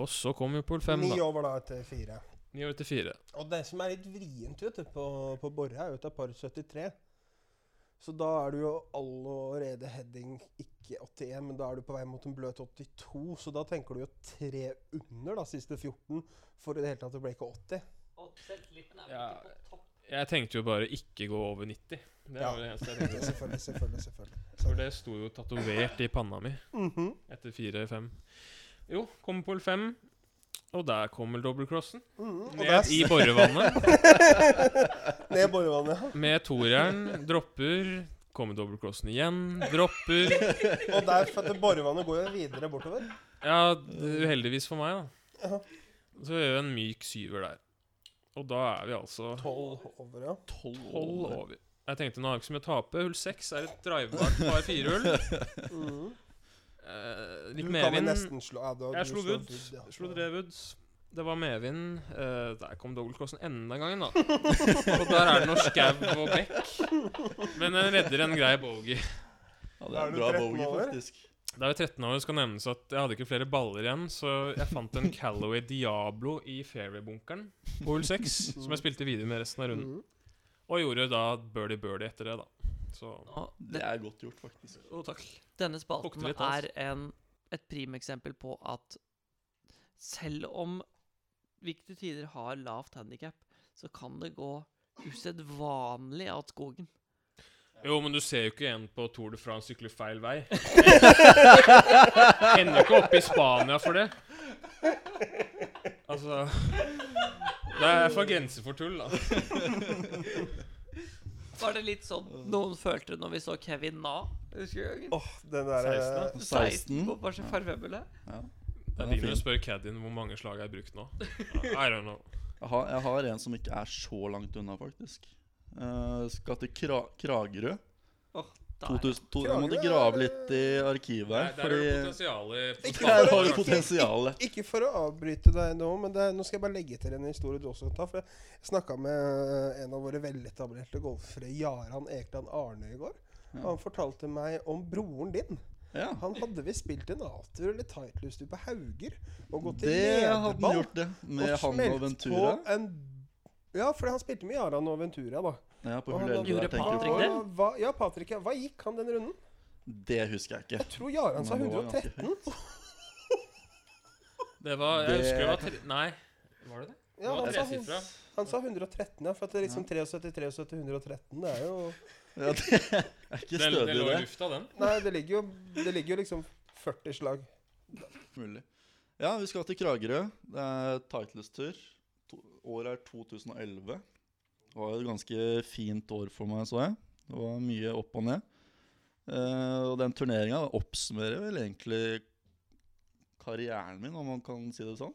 S1: Og så kom vi på hull fem,
S3: Ni
S1: da.
S3: over da etter fire.
S1: Ni over til fire.
S3: Og det som er litt vrient vet du, på, på Borre, er jo at det er par 73. Så da er du jo allerede heading ikke 81, men da er du på vei mot en bløt 82. Så da tenker du jo tre under da, siste 14 for i det hele tatt å breake 80.
S2: Og selvtilliten
S1: vel Ja. ikke Jeg tenkte jo bare ikke gå over 90. Det
S3: Ja.
S1: var det eneste jeg
S3: Ja,
S1: tenkte.
S3: selvfølgelig, selvfølgelig. selvfølgelig.
S1: For det sto jo tatovert i panna mi
S3: Mhm.
S1: etter 4-5. Jo, kom på 5, og der kommer dobbeltcrossen.
S3: Mhm. Og der,
S1: Ned i borevannet.
S3: ned i borevannet. ja.
S1: Med toeren. Dropper. Kommer dobbeltcrossen igjen. Dropper.
S3: Og der, for at borevannet går jo videre bortover.
S1: Ja, d- uheldigvis for meg, da.
S3: Ja.
S1: Så gjør jeg en myk syver der. Og da er vi altså
S3: Tolv over, ja.
S1: tolv over. Jeg tenkte nå har jeg ikke så mye å tape. Hull seks er et drivbart par firehull.
S3: Mhm.
S1: Eh,
S3: Du
S1: litt
S3: kan vel
S1: medvind.
S3: nesten slå ja, da,
S1: Jeg
S3: du
S1: slo
S3: slår
S1: Woods.
S3: ja.
S1: Slo tre woods. Det var medvind. Eh, der kom dobbeltcrossen enda en gang, da. Og der er det noe skau og bekk. Men den redder en grei bogey.
S4: Ja, det
S3: Da er
S4: er en
S3: du
S4: bra
S3: 13
S4: bogey,
S3: over.
S4: faktisk.
S1: Da er vi 13 år, det skal nevnes at jeg hadde ikke flere baller igjen, så jeg fant en Callaway Diablo i fairway-bunkeren på hull 6, som jeg spilte videre med resten av runden.
S3: Mhm.
S1: Og gjorde da birdie-birdie etter det, da. Så
S4: Det er godt gjort, faktisk.
S1: Jo, takk.
S2: Denne
S1: Kokte
S2: spalten
S1: litt, altså.
S2: er en, et primeksempel på at selv om viktige tider har lavt handikap, så kan det gå usedvanlig av skogen.
S1: Jo, men du ser jo ikke en på Tour de France sykle feil vei. Ender jo ikke opp i Spania for det. Altså Det er for grenser for tull, da.
S2: Var det litt sånn noen følte når vi så Kevin Na? Husker du?
S3: Åh, den der eh,
S1: 16,
S2: 16
S4: 16.
S2: på bare så farvebullet.
S1: Det er
S4: Den eh, er
S1: din å
S4: fin.
S1: spørre caddien hvor mange slag jeg har brukt nå. I don't know.
S4: Jeg har, jeg har en som ikke er så langt unna, faktisk. Eh, skal til Kra Kragerø.
S2: Åh, der.
S4: 2000, to, jeg måtte
S3: Kragerø,
S4: grave
S3: det-
S4: litt i arkivet
S1: Der,
S4: her,
S1: der er det
S4: fordi
S1: potensial i
S4: Der har du potensialet.
S3: Ikke for å avbryte deg nå, men det er, nå skal jeg bare legge til en historie du også kan ta. For jeg snakka med eh, en av våre veletablerte golfere, Jaran Ekeland Arne, i går. Og han fortalte meg om broren din.
S4: Ja,
S3: Han hadde visst spilt en atur eller tightlooser på Hauger og gått i
S4: det hadde han
S3: lederball
S4: gjort, det. Med han
S3: smelt
S4: og Ventura.
S3: på en Ja, for han spilte med Jaran og Ventura, da.
S4: Ja, på
S3: Og
S4: hull
S3: han
S4: 11 der,
S2: Gjorde
S4: tenker du
S2: Patrick
S4: på.
S2: det?
S3: Og hva, ja, Patrick, ja. hva gikk han den runden?
S4: Det husker jeg ikke.
S3: Jeg tror Jaran sa
S4: Men det var ganske
S3: 113.
S1: Det var Jeg husker det var
S4: Det-
S1: tre... Nei. Var det det?
S3: Ja, han
S1: det
S3: sa,
S1: var tresifra.
S3: han sa 113, ja. For at det er liksom 73, 73, 113, det er jo
S4: Ja, det er ikke
S1: Den, den
S4: stødig,
S1: lå i
S4: det.
S1: lufta, den.
S3: Nei, det ligger jo, det ligger jo liksom 40 slag.
S4: Mulig. Ja, vi skal til Kragerø. Det er Titles-tur. To- Året er 2011. Det var et ganske fint år for meg, så jeg. Det var mye opp og ned. Eh, og den turneringa oppsummerer vel egentlig karrieren min, om man kan si det sånn.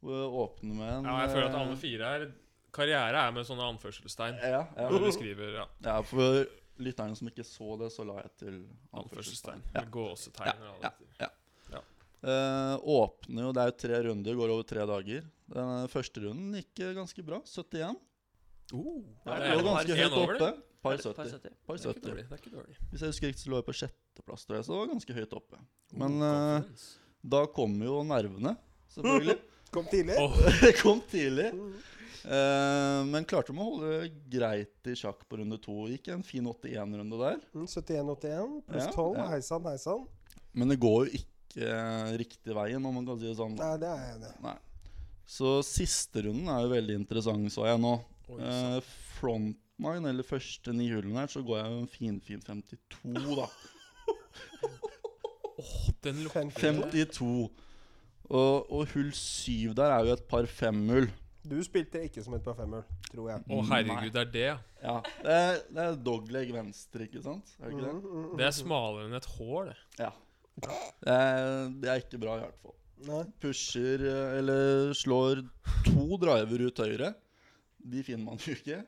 S4: Hvor jeg åpner med en
S1: Ja, jeg føler at
S4: eh,
S1: alle fire her Karriere er med sånne anførselstegn.
S4: ja,
S1: Når
S4: ja.
S1: du skriver ja,
S4: ja, for lytterne som ikke så det, så la jeg til
S1: anførselstegn.
S4: Ja.
S1: Med gåsetegn og
S4: ja,
S1: alt.
S4: Eh, åpner jo, Det er jo tre runder, går over tre dager. Den første runden gikk eh, ganske bra. 71.
S1: Oh, det
S4: Ja, det
S1: er
S4: lå ganske
S1: en
S4: høyt
S1: over det.
S4: oppe. Par
S2: Er det par
S4: 70.
S2: 70?
S4: Par
S1: Det er ikke
S4: 70.
S1: dårlig. Det er ikke dårlig.
S4: Hvis jeg husker riktig, så lå jeg på sjetteplass, tror jeg, så det var ganske høyt oppe.
S1: Oh,
S4: Men eh,
S1: Confidence.
S4: da kom jo nervene, selvfølgelig.
S3: Kom tidlig.
S1: Åh,
S4: Det kom tidlig. Eh, men klarte de å holde greit i sjakk på runde to. Gikk en fin 81-runde der.
S3: Mm, 71-81 pluss
S4: Ja,
S3: 12.
S4: ja.
S3: Hei sann, hei sann.
S4: Men det går jo ikke eh, riktig veien, om man kan si det sånn.
S3: Nei, det er jeg enig i.
S4: Så siste runden er jo veldig interessant, så jeg nå.
S1: oi, sant.
S4: Eh, frontline, eller første ni hullene her, så går jeg jo en finfin 52, da.
S1: eh, den lukter
S3: Fem-
S4: 52. Og, og hull syv der er jo et par femhull.
S3: Du spilte ikke som et par femhull, tror jeg.
S1: Å, herregud, det er det, ja.
S4: Ja, det er, det er dogleg venstre, ikke sant? Er det
S1: Mhm.
S4: ikke
S3: Mm,
S4: det?
S3: mm, mm.
S1: Det er smalere enn et hår, det.
S4: Ja. Det er, det er ikke bra, i hvert fall.
S3: Nei.
S4: Pusher eh, eller slår to driver ut høyre. De finner man jo ikke.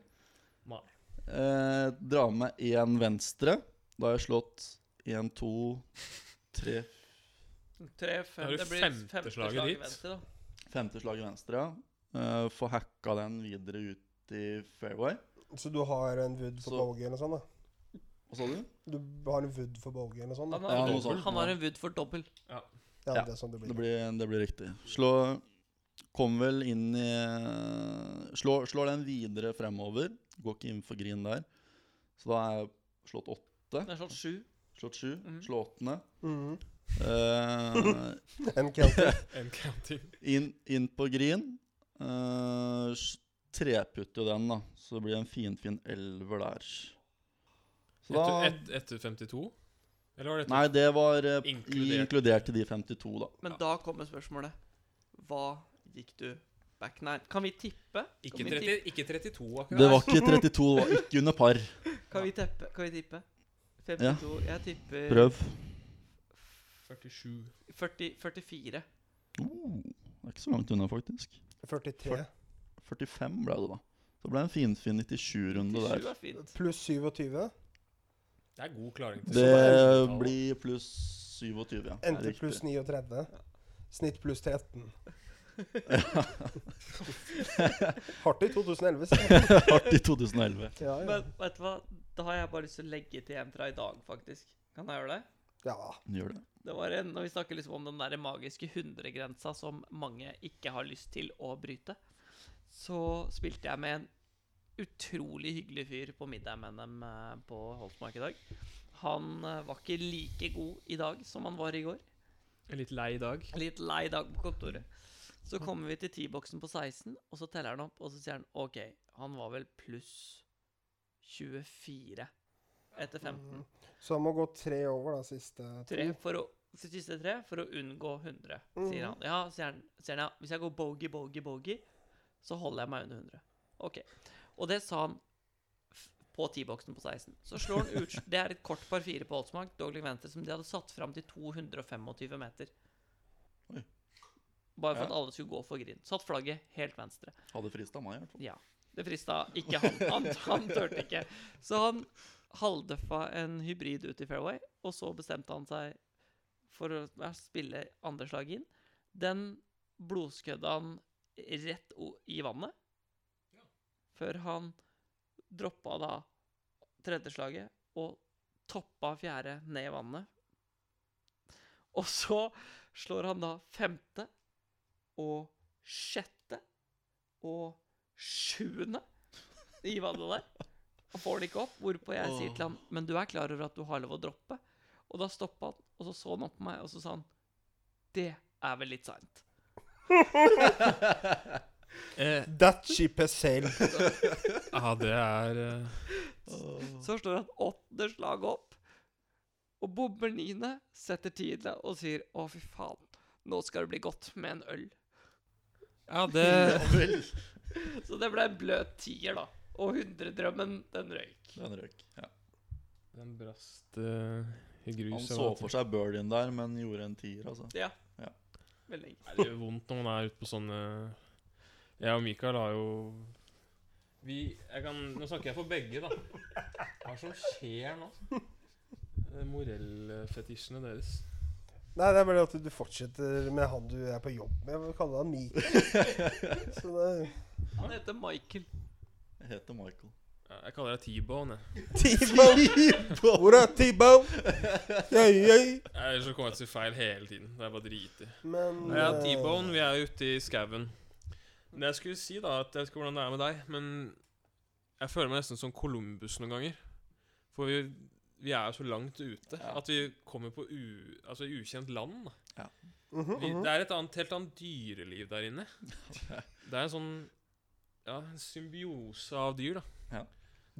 S1: Nei.
S4: Eh, drar med én venstre. Da har jeg slått én, to, tre,
S2: Tre,
S1: Da
S2: fem,
S1: er du
S2: det blir
S1: femte
S2: femte
S1: slaget
S2: slag i
S1: dit.
S2: venstre, da.
S4: Femte slag i venstre, ja. Eh, Få hacka den videre ut i fairway.
S3: Så du har en wood for
S4: Så-
S3: bogey eller sånn, da?
S4: Hva sa du?
S3: Du har en wood for bogey eller sånn?
S2: Han
S3: da?
S4: Ja,
S2: har,
S4: noe
S2: dobbel.
S4: sånt.
S2: han har en Wood for dobbel.
S3: Ja,
S4: Ja,
S3: det er sånn det
S4: Det
S3: blir.
S4: blir, det blir riktig. Slå Kom vel inn i eh, slå, Slår den videre fremover. Går ikke inn for green der. Så da er jeg slått åtte,
S5: Det er sånn sju.
S4: slått sju,
S5: Mhm.
S4: slått åttende.
S3: Mhm.
S4: Eh,
S3: En counter.
S1: En counting.
S4: inn, inn på green. Eh, s- treputter jo den, da. Så det blir en finfin elver der. Så
S1: Etter,
S4: da
S1: et, etter 52? Eller var det etter?
S4: Nei, det var eh,
S1: Inkludert.
S4: inkludert i de 52, da.
S1: Ja.
S2: Men da kommer spørsmålet. Hva gikk du back nine? Kan vi tippe?
S1: Ikke,
S2: Kan vi
S1: 30, ikke 32, akkurat.
S4: Det var ikke 32, det var ikke under par.
S2: Kan vi, teppe? Kan vi tippe? 52. Jeg tipper
S4: Prøv.
S1: 47.
S2: 40, 44.
S4: Oh, det er ikke så langt unna, faktisk.
S3: 43
S4: 45 ble det, da. Så ble det en finfin 97-runde
S2: 97
S4: der.
S2: er fint.
S3: pluss 27.
S1: Det er god klaring. til
S4: Det
S1: 17-tallet.
S4: blir pluss 27, ja.
S3: Endte
S4: Riktig.
S3: pluss 39. Snitt pluss 13. Hardt i 2011, sier jeg.
S4: Hardt i 2011.
S3: Ja, ja.
S2: Men vet du hva? Da har jeg bare lyst til å legge til en fra i dag, faktisk. Kan jeg gjøre det?
S3: ja.
S4: Gjør det.
S2: Det var en, når Vi snakker liksom om den der magiske 100-grensa som mange ikke har lyst til å bryte. Så spilte jeg med en utrolig hyggelig fyr på middag med dem eh, på Holtmark i dag. Han eh, var ikke like god i dag som han var i går.
S1: En litt lei dag.
S2: Litt lei dag på kontoret. Så kommer vi til T-boksen på 16, og så teller han opp, og så sier han OK, han var vel pluss 24 etter 15.
S3: Så han må gå tre over, da, siste to.
S2: Tre for å, for siste tre for å unngå 100, sier
S4: Mhm.
S2: han. Ja, sier han, sier han ja, hvis jeg går bogey, bogey, bogey, så holder jeg meg under 100. OK. Og det sa han f- på T-boksen på 16. Så slår han ut Det er et kort par fire på Holtsmark, Dogling Venter, som de hadde satt fram til 225 meter.
S4: Oi.
S2: Bare for
S4: Ja.
S2: at alle skulle gå for grind. Satt flagget helt venstre.
S4: Hadde frista meg, i hvert fall.
S2: Ja. Det frista ikke han. Han, han turte ikke. Så han halvdøffa en hybrid ut i fairway, og så bestemte han seg for å ja, spille andre slag inn. Den blodskødda han rett o- i vannet, før han droppa da tredje slaget og toppa fjerde ned i vannet. Og så slår han da femte og sjette og sjuende i vannet der. Han får det ikke opp, hvorpå jeg sier til han Men du er klar over at du har lov å droppe? Og da stoppa han, og så så han opp på meg, og så sa han Det er vel litt seint.
S1: Eh,
S3: That ship has sailed.
S1: ja, det er eh,
S2: Så slår han åttende slag opp, og bommer niende, setter tiende og sier Å, fy faen, nå skal det bli godt med en øl.
S1: Ja, det
S4: Vel.
S2: Så det ble en bløt tier, da. Og 100-drømmen, den røyk.
S4: Den røk. Ja.
S1: Den brast eh, i grus.
S4: Han
S1: jeg
S4: så
S1: vet
S4: for
S1: ikke.
S4: seg birdien der, men gjorde en tier, altså.
S2: Veldig enkelt.
S1: Det gjør vondt når man er ute på sånne Jeg og Mikael har jo Vi jeg kan, Nå snakker jeg for begge, da. Hva er det som skjer nå? Det er Morellfetisjene deres.
S3: Nei, det er bare at du fortsetter med han du er på jobb med. Vi kaller han Mikael. Så det
S2: Han heter Michael.
S4: Jeg heter Michael.
S1: Ja, Jeg kaller deg T-bone. jeg.
S3: T-Bone! Hvor er T-Bone? Jøy, jøy.
S1: Ellers så kommer jeg til å si feil hele tiden. Det er bare driter.
S3: Men
S1: Ja,
S3: eh,
S1: T-bone, vi er ute i skauen. Men jeg skulle si, da, at jeg vet ikke hvordan det er med deg, men jeg føler meg nesten som Columbus noen ganger. For vi, vi er jo så langt ute
S4: Ja.
S1: at vi kommer på u, altså, ukjent land. da.
S3: mhm,
S1: Vi,
S3: mhm.
S1: det er et annet, helt annet dyreliv der inne. Det er en sånn ja, en symbiose av dyr, da.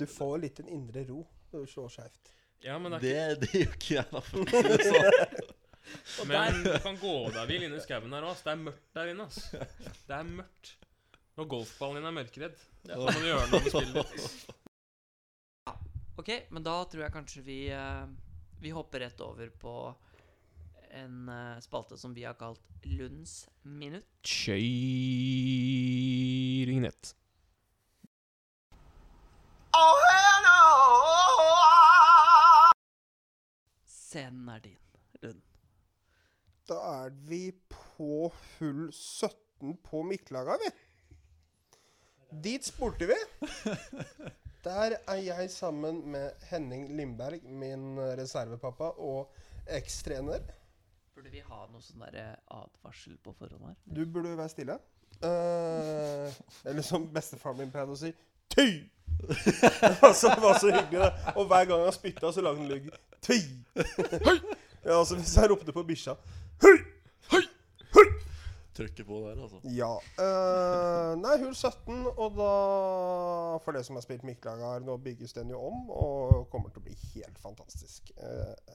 S3: Du får litt en indre ro når du slår skeivt.
S1: Ja, men det er
S4: Det, det gjør ikke jeg, da. for å si det sånn.
S1: ikke Men du kan gå deg vill inne i skauen her òg. Det er mørkt der inne. ass. Det er mørkt. Når golfballen din er mørkredd, da må du gjøre noe med spillet ditt.
S2: Ok, men da tror jeg kanskje vi eh, Vi hopper rett over på en eh, spalte som vi har kalt Lunds minutt.
S1: Kjøringnett.
S2: Scenen er din, Lund.
S3: Da er vi på hull 17 på Mikkelaga, vi. Dit spurte vi. Der er jeg sammen med Henning Lindberg, min eh, reservepappa og ekstrener.
S2: Burde vi ha noe sånn derre advarsel på forhånd her?
S3: Du burde være stille. Eh, eller som bestefaren min pleide å si Tøy! altså, det var så hyggelig, det. Og hver gang han spytta, så lagde han lyd. Tøy! ja, altså, hvis han ropte på bikkja.
S4: Trykker på der, altså.
S3: Ja. eh, nei, hull 17, og da For det som har spilt Mikkelaga her, nå bygges den jo om og kommer til å bli helt fantastisk. Eh,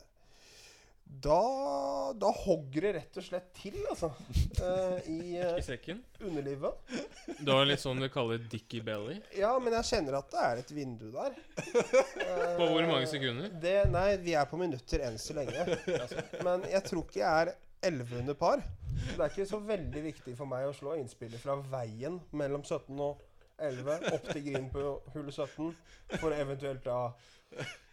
S3: da da hogger det rett og slett til, altså. eh, I
S1: I
S3: eh,
S1: sekken.
S3: underlivet.
S1: Du har litt sånn de kaller dicky belly.
S3: Ja, men jeg kjenner at det er et vindu der.
S1: På hvor mange sekunder?
S3: Det, nei, vi er på minutter enn så lenge. Men jeg tror ikke jeg er 11 under par. Så det er ikke så veldig viktig for meg å slå innspillet fra veien mellom 17 og 11 opp til green på hull 17, for eventuelt da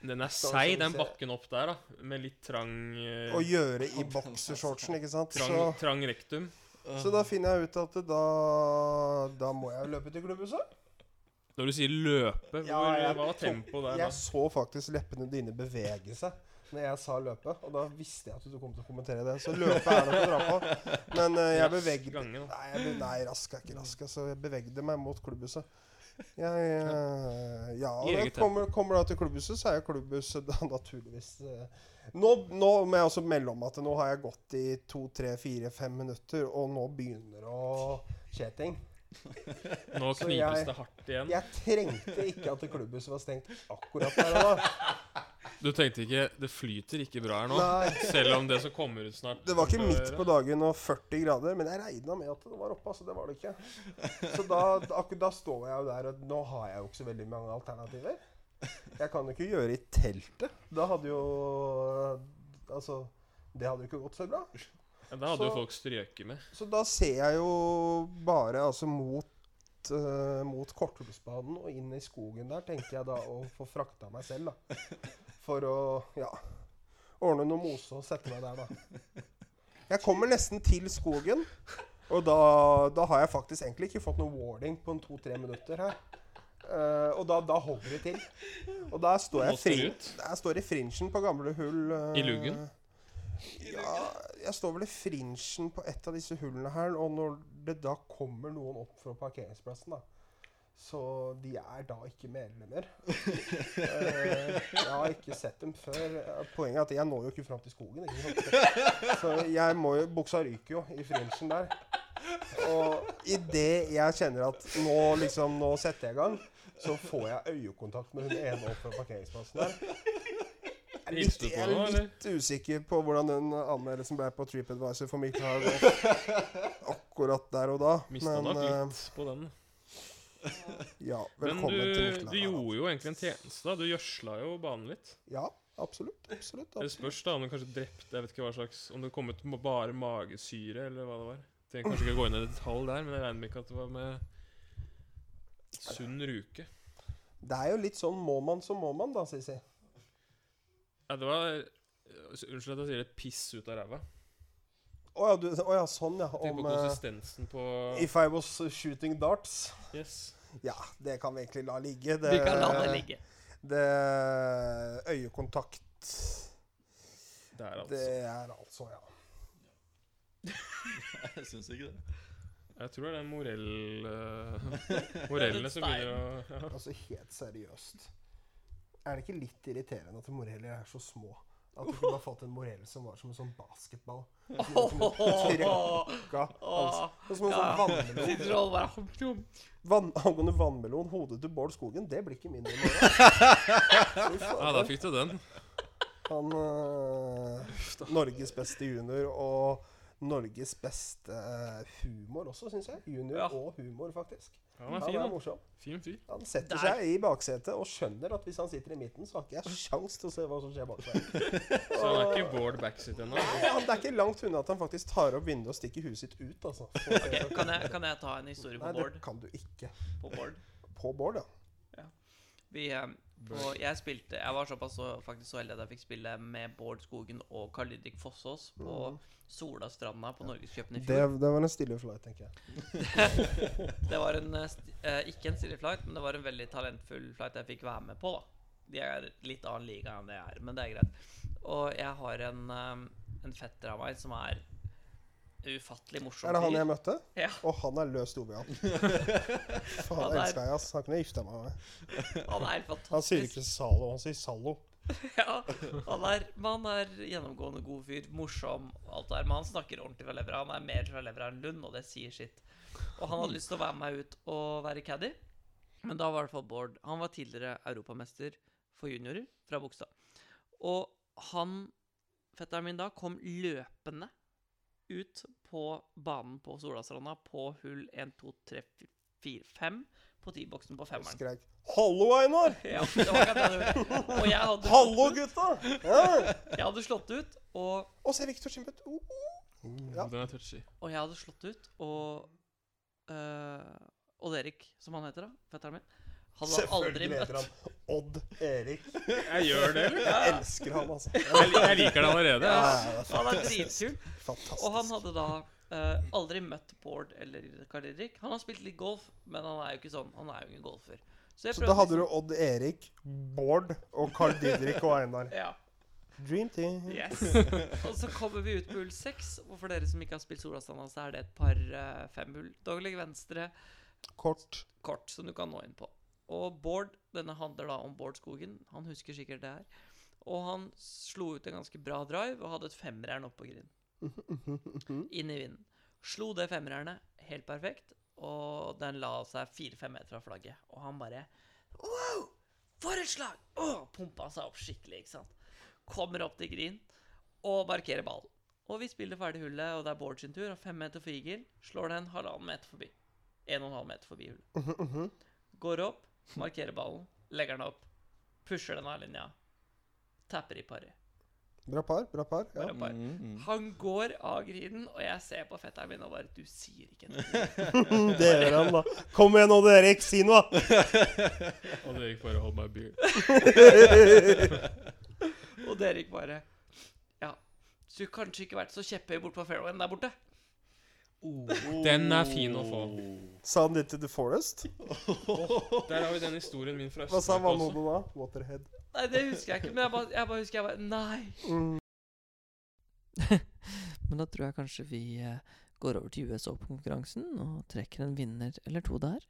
S1: Den er
S3: Skal vi
S1: seig,
S3: se.
S1: den bakken opp der, da. Med litt trang eh,
S3: å gjøre i boksershortsen, ikke sant.
S1: trang,
S3: Så,
S1: trang rektum.
S3: så da finner jeg ut at da Da må jeg løpe til klubbhuset.
S1: Når du sier løpe, hvor,
S3: Ja, jeg
S1: hva var
S3: tok-
S1: tempoet der da?
S3: Jeg så faktisk leppene dine bevege seg når jeg sa løpe, og da visste jeg at du kom til å kommentere det. Så løpe er det å dra på. Men eh, jeg
S1: Rask
S3: beveget
S1: gange, da.
S3: Nei, jeg ble, nei rask er ikke rask. Altså, jeg bevegde meg mot klubbhuset. Jeg, eh, ja, og
S1: I
S3: når jeg
S1: eget
S3: kommer, kommer da til klubbhuset, så er jo klubbhuset da naturligvis eh, nå, nå må jeg også melde om at nå har jeg gått i to, tre, fire, fem minutter, og nå begynner det å skje ting.
S1: Nå
S3: Så
S1: knipes
S3: jeg-
S1: det hardt igjen.
S3: Jeg trengte ikke at klubbhuset var stengt akkurat der og da.
S1: Du tenkte ikke Det flyter ikke bra her nå.
S3: Nei,
S1: Selv om det som kommer ut snart
S3: det var ikke
S1: skal
S3: midt
S1: gjøre.
S3: på dagen og 40 grader, men jeg regna med at det var oppe. altså det var det ikke. Så da, akkurat da står jeg jo der, og nå har jeg jo ikke så veldig mange alternativer. Jeg kan jo ikke gjøre i teltet. Da hadde jo Altså, det hadde jo ikke gått så bra.
S1: Ja, Da hadde
S3: Så-
S1: jo folk strøket med.
S3: Så da ser jeg jo bare altså mot eh, mot Korthullsbanen og inn i skogen der, tenkte jeg da å få frakta meg selv, da. For å ja ordne noe mose og sette meg der, da. Jeg kommer nesten til skogen, og da, da har jeg faktisk egentlig ikke fått noe warning på en to-tre minutter her. Eh, og da, da holder det til. Og der står jeg,
S1: Måste
S3: frin
S1: ut?
S3: der står i frinsen på gamle hull. eh,
S1: I luggen?
S3: Ja, jeg står vel i frinsen på et av disse hullene her, og når det da kommer noen opp fra parkeringsplassen, da Så de er da ikke medlemmer. Eh, jeg har ikke sett dem før. Eh, Poenget er at jeg når jo ikke fram til skogen. Ikke sant? Så jeg må jo Buksa ryker jo i frinsen der. Og idet jeg kjenner at nå liksom, nå setter jeg i gang, så får jeg øyekontakt med hun ene opp fra parkeringsplassen der. Jeg er
S1: Hilste
S3: litt,
S1: du på
S3: jeg
S1: henne,
S3: er
S1: eller?
S3: litt usikker på hvordan den anmeldelsen ble på TripAdvisor for Mikkel Haug akkurat der og da.
S1: Mista
S3: Men
S1: nok
S3: eh,
S1: litt på den.
S3: ja,
S1: Men
S3: velkommen
S1: du,
S3: til Mikkel
S1: du
S3: Haug, da.
S1: gjorde jo egentlig en tjeneste. da Du gjødsla jo banen litt.
S3: Ja, absolutt. absolutt,
S1: Det
S3: absolutt.
S1: spørs da om du kanskje drepte Jeg vet ikke hva slags Om det kom ut med bare magesyre, eller hva det var. Trenger kanskje ikke å gå inn i detalj der, men jeg regner med ikke at det var med sunn ruke.
S3: Det er jo litt sånn må man, så må man, da, Sissy.
S1: Ja, det var Unnskyld at jeg sier det. Piss ut av ræva.
S3: Å ja, du, å ja, sånn, ja.
S1: Tenk
S3: Om
S1: på
S3: eh,
S1: konsistensen på
S3: If I was shooting darts.
S1: Yes.
S3: Ja, det kan vi egentlig la ligge. Det,
S6: Vi kan la det ligge.
S3: det- øyekontakt
S1: Der, altså.
S3: Det er altså, ja.
S4: Jeg syns ikke det.
S1: Jeg tror det er morell... eh, morellene som begynner å ja.
S3: Altså helt seriøst. Er det ikke litt irriterende at moreller er så små? At du kunne ha fått en morell som var som en sånn basketball? Som du trøkka, altså. Som en sånn vannmelon.
S6: Sitter og bare hum, hum.
S3: Vann, angående vannmelon, hodet til Bård Skogen, det blir ikke mindre enn det. Fy
S1: Ja,
S3: fader.
S1: der fikk du den.
S3: Han øh, Norges beste junior og Norges beste øh, humor også, syns jeg. Junior
S6: Ja.
S3: og humor, faktisk.
S1: Ja, den er
S3: Han
S1: fin,
S3: er
S1: da.
S3: morsom.
S1: Fin fyr.
S3: Han setter
S6: Der.
S3: seg i baksetet og skjønner at hvis han sitter i midten, så har ikke jeg sjans til å se hva som skjer bak seg.
S1: Så han er ikke Bård Backseat ennå.
S3: Nei, han, det er ikke langt unna at han faktisk tar opp vinduet og stikker huet sitt ut, altså. For å se
S6: Ok,
S3: hva-
S6: kan, jeg, kan jeg ta en historie på
S3: Nei, det
S6: Bård?
S3: kan du ikke.
S6: På Bård?
S3: På Bård, ja.
S6: Vi, eh, på- jeg spilte Jeg var såpass så, faktisk så heldig at jeg fikk spille med Bård Skogen og Karl Didrik Fossås på Solastranda på Norgescupen i
S3: Mm. Det,
S6: fjor.
S3: det var en stille flight, tenker jeg.
S6: Det var en, eh, sti- eh, ikke en stille flight, men det var en veldig talentfull flight jeg fikk være med på. da De er litt annen liga enn det jeg er, men det er greit. Og jeg har en, eh, en fetter av meg som er
S2: ufattelig
S3: Er det
S2: morsom
S3: han
S2: fyr.
S3: jeg møtte?
S2: Ja.
S3: Og han er løs dovian. Faen,
S2: Han
S3: jeg
S2: er-
S3: elsker jeg, ass. Han kunne jeg gifta meg med.
S2: Han er helt
S3: Han sier
S2: fantastisk.
S3: ikke Zalo, han sier Zalo.
S2: Ja, han er, men han er gjennomgående god fyr, morsom, alt det der. Men han snakker ordentlig fra levra. Han er mer fra levra enn Lund, og det sier sitt. Og han hadde lyst til å være med meg ut og være caddy, men da var det for Bård. Han var tidligere europamester for juniorer fra Bogstad. Og han, fetteren min da, kom løpende ut på banen på Solastranda på hull 1, 2, 3, 4, 5 på T-boksen på
S3: Og
S2: femmeren.
S3: skrek 'Hallo, Einar!
S2: Ja, det var akkurat det jeg gjorde. Og jeg hadde,
S3: Hallo, gutta!' Ja.
S2: jeg hadde slått ut, og
S3: Og se Victor Simbet. Oh, oh. Ja.
S1: Den er touchy.
S2: Og jeg hadde slått ut, og øh, Odd Erik, som han heter, da, fetteren min, hadde han aldri
S3: Selvfølgelig heter
S2: møtt.
S3: han Odd Erik.
S1: Jeg gjør det, eller?
S3: Jeg elsker han, altså.
S1: Jeg, li- jeg liker det allerede.
S3: Ja,
S1: jeg.
S3: det er
S2: Han er
S3: fantastisk.
S2: dritkul.
S3: fantastisk.
S2: Og han hadde da eh, aldri møtt Bård eller Karl Erik. Han har spilt litt golf, men han er jo ikke sånn. Han er jo ingen golfer. jeg liksom-
S3: Så da hadde du Odd Erik, Bård og Carl Didrik og Einar.
S2: Ja.
S3: Dream team.
S2: Yes. Og så kommer vi ut på hull seks. Og for dere som ikke har spilt Solastranda, så er det et par uh, femhull. Daglig venstre.
S3: Kort.
S2: kort som du kan nå inn på. Og Bård, denne handler da om Bård Skogen, han husker sikkert det her. Og han slo ut en ganske bra drive og hadde et femmer'n oppå green. Inn i vinden. Slo det femmer'ernet helt perfekt, og den la seg fire-fem meter fra flagget. Og han bare Wow! For et slag! Åh, pumpa seg opp skikkelig, ikke sant. Kommer opp til green og markerer ballen. Og vi spiller ferdig hullet, og det er Bård sin tur. Og fem meter for eagle. Slår den halvannen meter forbi. En og en halv meter forbi hullet. Går opp, markerer ballen, legger den opp, pusher den av linja. Tapper i pari.
S3: Bra par, bra par. Ja.
S2: Bare par.
S4: Mm.
S2: Han går av griden, og jeg ser på fetteren min og bare Du sier ikke noe.
S3: Det gjør han, da. Kom igjen, Odd Erik, si noe!
S1: Og det gikk bare hold my beer.
S2: Og Derek bare Ja, skulle kanskje ikke vært så kjepphøy bort på fairwayen der borte.
S1: Oh. Den er fin å få.
S3: Sa han det til The Forest?
S1: Der har vi den historien min fra
S3: Hva sa
S1: Østmarka også.
S3: vannhodet da? Waterhead.
S2: Nei, det husker jeg ikke, men jeg bare, jeg bare husker jeg bare Nei.
S3: Mm.
S6: Men da tror jeg kanskje vi eh, går over til US Open-konkurransen og trekker en vinner eller to der.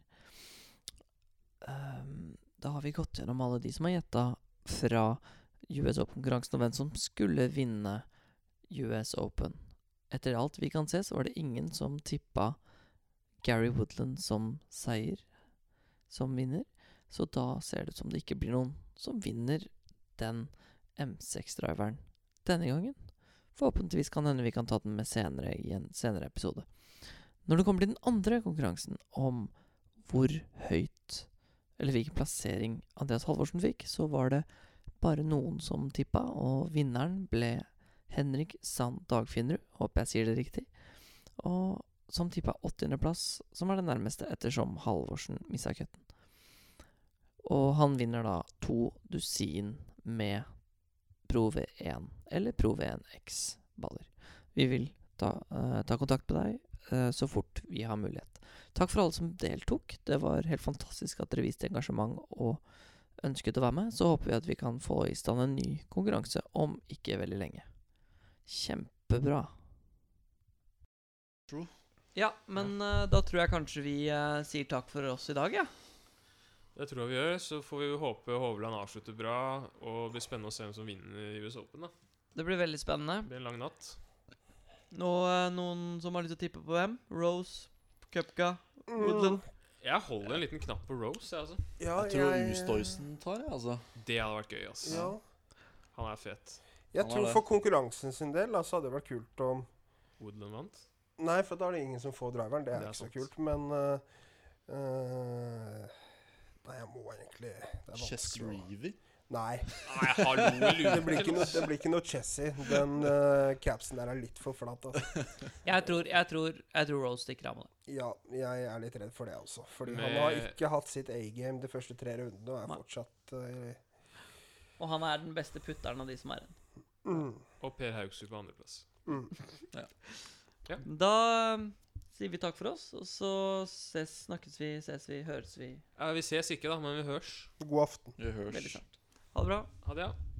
S6: Ehm, da har vi gått gjennom alle de som har gjetta fra US Open-konkurransen, og hvem som skulle vinne US Open. Etter alt vi kan se, så var det ingen som tippa Gary Woodland som seier, som vinner. Så da ser det ut som det ikke blir noen som vinner den M6-driveren denne gangen. Forhåpentligvis kan hende vi kan ta den med senere i en senere episode. Når det kommer til den andre konkurransen om hvor høyt eller hvilken plassering Andreas Halvorsen fikk, så var det bare noen som tippa, og vinneren ble Henrik Sand Dagfinnerud, håper jeg sier det riktig, og som tippa 80.-plass, som er det nærmeste ettersom Halvorsen mista cutten. Og han vinner da to dusin med Pro V1 eller Pro V1X-baller. Vi vil ta, eh, ta kontakt med deg eh, så fort vi har mulighet. Takk for alle som deltok. Det var helt fantastisk at dere viste engasjement og ønsket å være med. Så håper vi at vi kan få i stand en ny konkurranse om ikke veldig lenge. Kjempebra.
S2: Ja, men eh, da tror jeg kanskje vi eh, sier takk for oss i dag, ja.
S1: Det tror jeg vi gjør. Så får vi jo håpe Hovland avslutter bra, og det blir spennende å se hvem som vinner i US Open. da.
S2: Det blir veldig spennende.
S1: Det blir en lang natt.
S2: Nå eh, noen som har lyst til å tippe på hvem? Rose, Cupca, Woodland.
S1: Jeg holder en liten knapp på Rose, jeg, altså.
S3: Ja,
S4: Jeg tror Ustoysen tar det, altså.
S1: Det hadde vært gøy, ass.
S3: Ja.
S1: Han er fet.
S3: Jeg
S4: Han er
S3: tror
S4: det.
S3: for konkurransen sin del da, så hadde det vært kult om
S1: Woodland vant.
S3: Nei, for da er det ingen som får driveren. Det er,
S1: Det er
S3: ikke
S1: sant.
S3: så kult, men eh, eh, Nei, jeg må egentlig Det er
S4: Chess
S3: vanskelig. å-
S4: Reavy.
S3: Nei,
S1: Nei, hallo,
S3: det
S1: lurer
S3: blir ikke
S1: til,
S3: noe,
S1: ass.
S3: det blir ikke noe Chessy. Den eh, capsen der er litt for flat. Altså.
S2: Jeg tror, jeg tror, jeg tror Rose stikker av med det.
S3: Ja, jeg er litt redd for det også. Fordi
S1: Med-
S3: han har ikke hatt sitt A-game de første tre rundene og er
S2: Nei.
S3: fortsatt eh,
S2: Og han er den beste putteren av de som er igjen.
S3: mm,
S1: Og Per Haugsrud på andreplass.
S3: mm.
S2: Da um, sier vi takk for oss, og så ses, snakkes vi, ses vi, høres vi
S1: Ja, vi ses ikke, da, men vi hørs.
S3: God aften.
S4: Vi
S2: veldig
S4: hørs.
S2: snart. Ha det bra.
S1: Ha det, ja.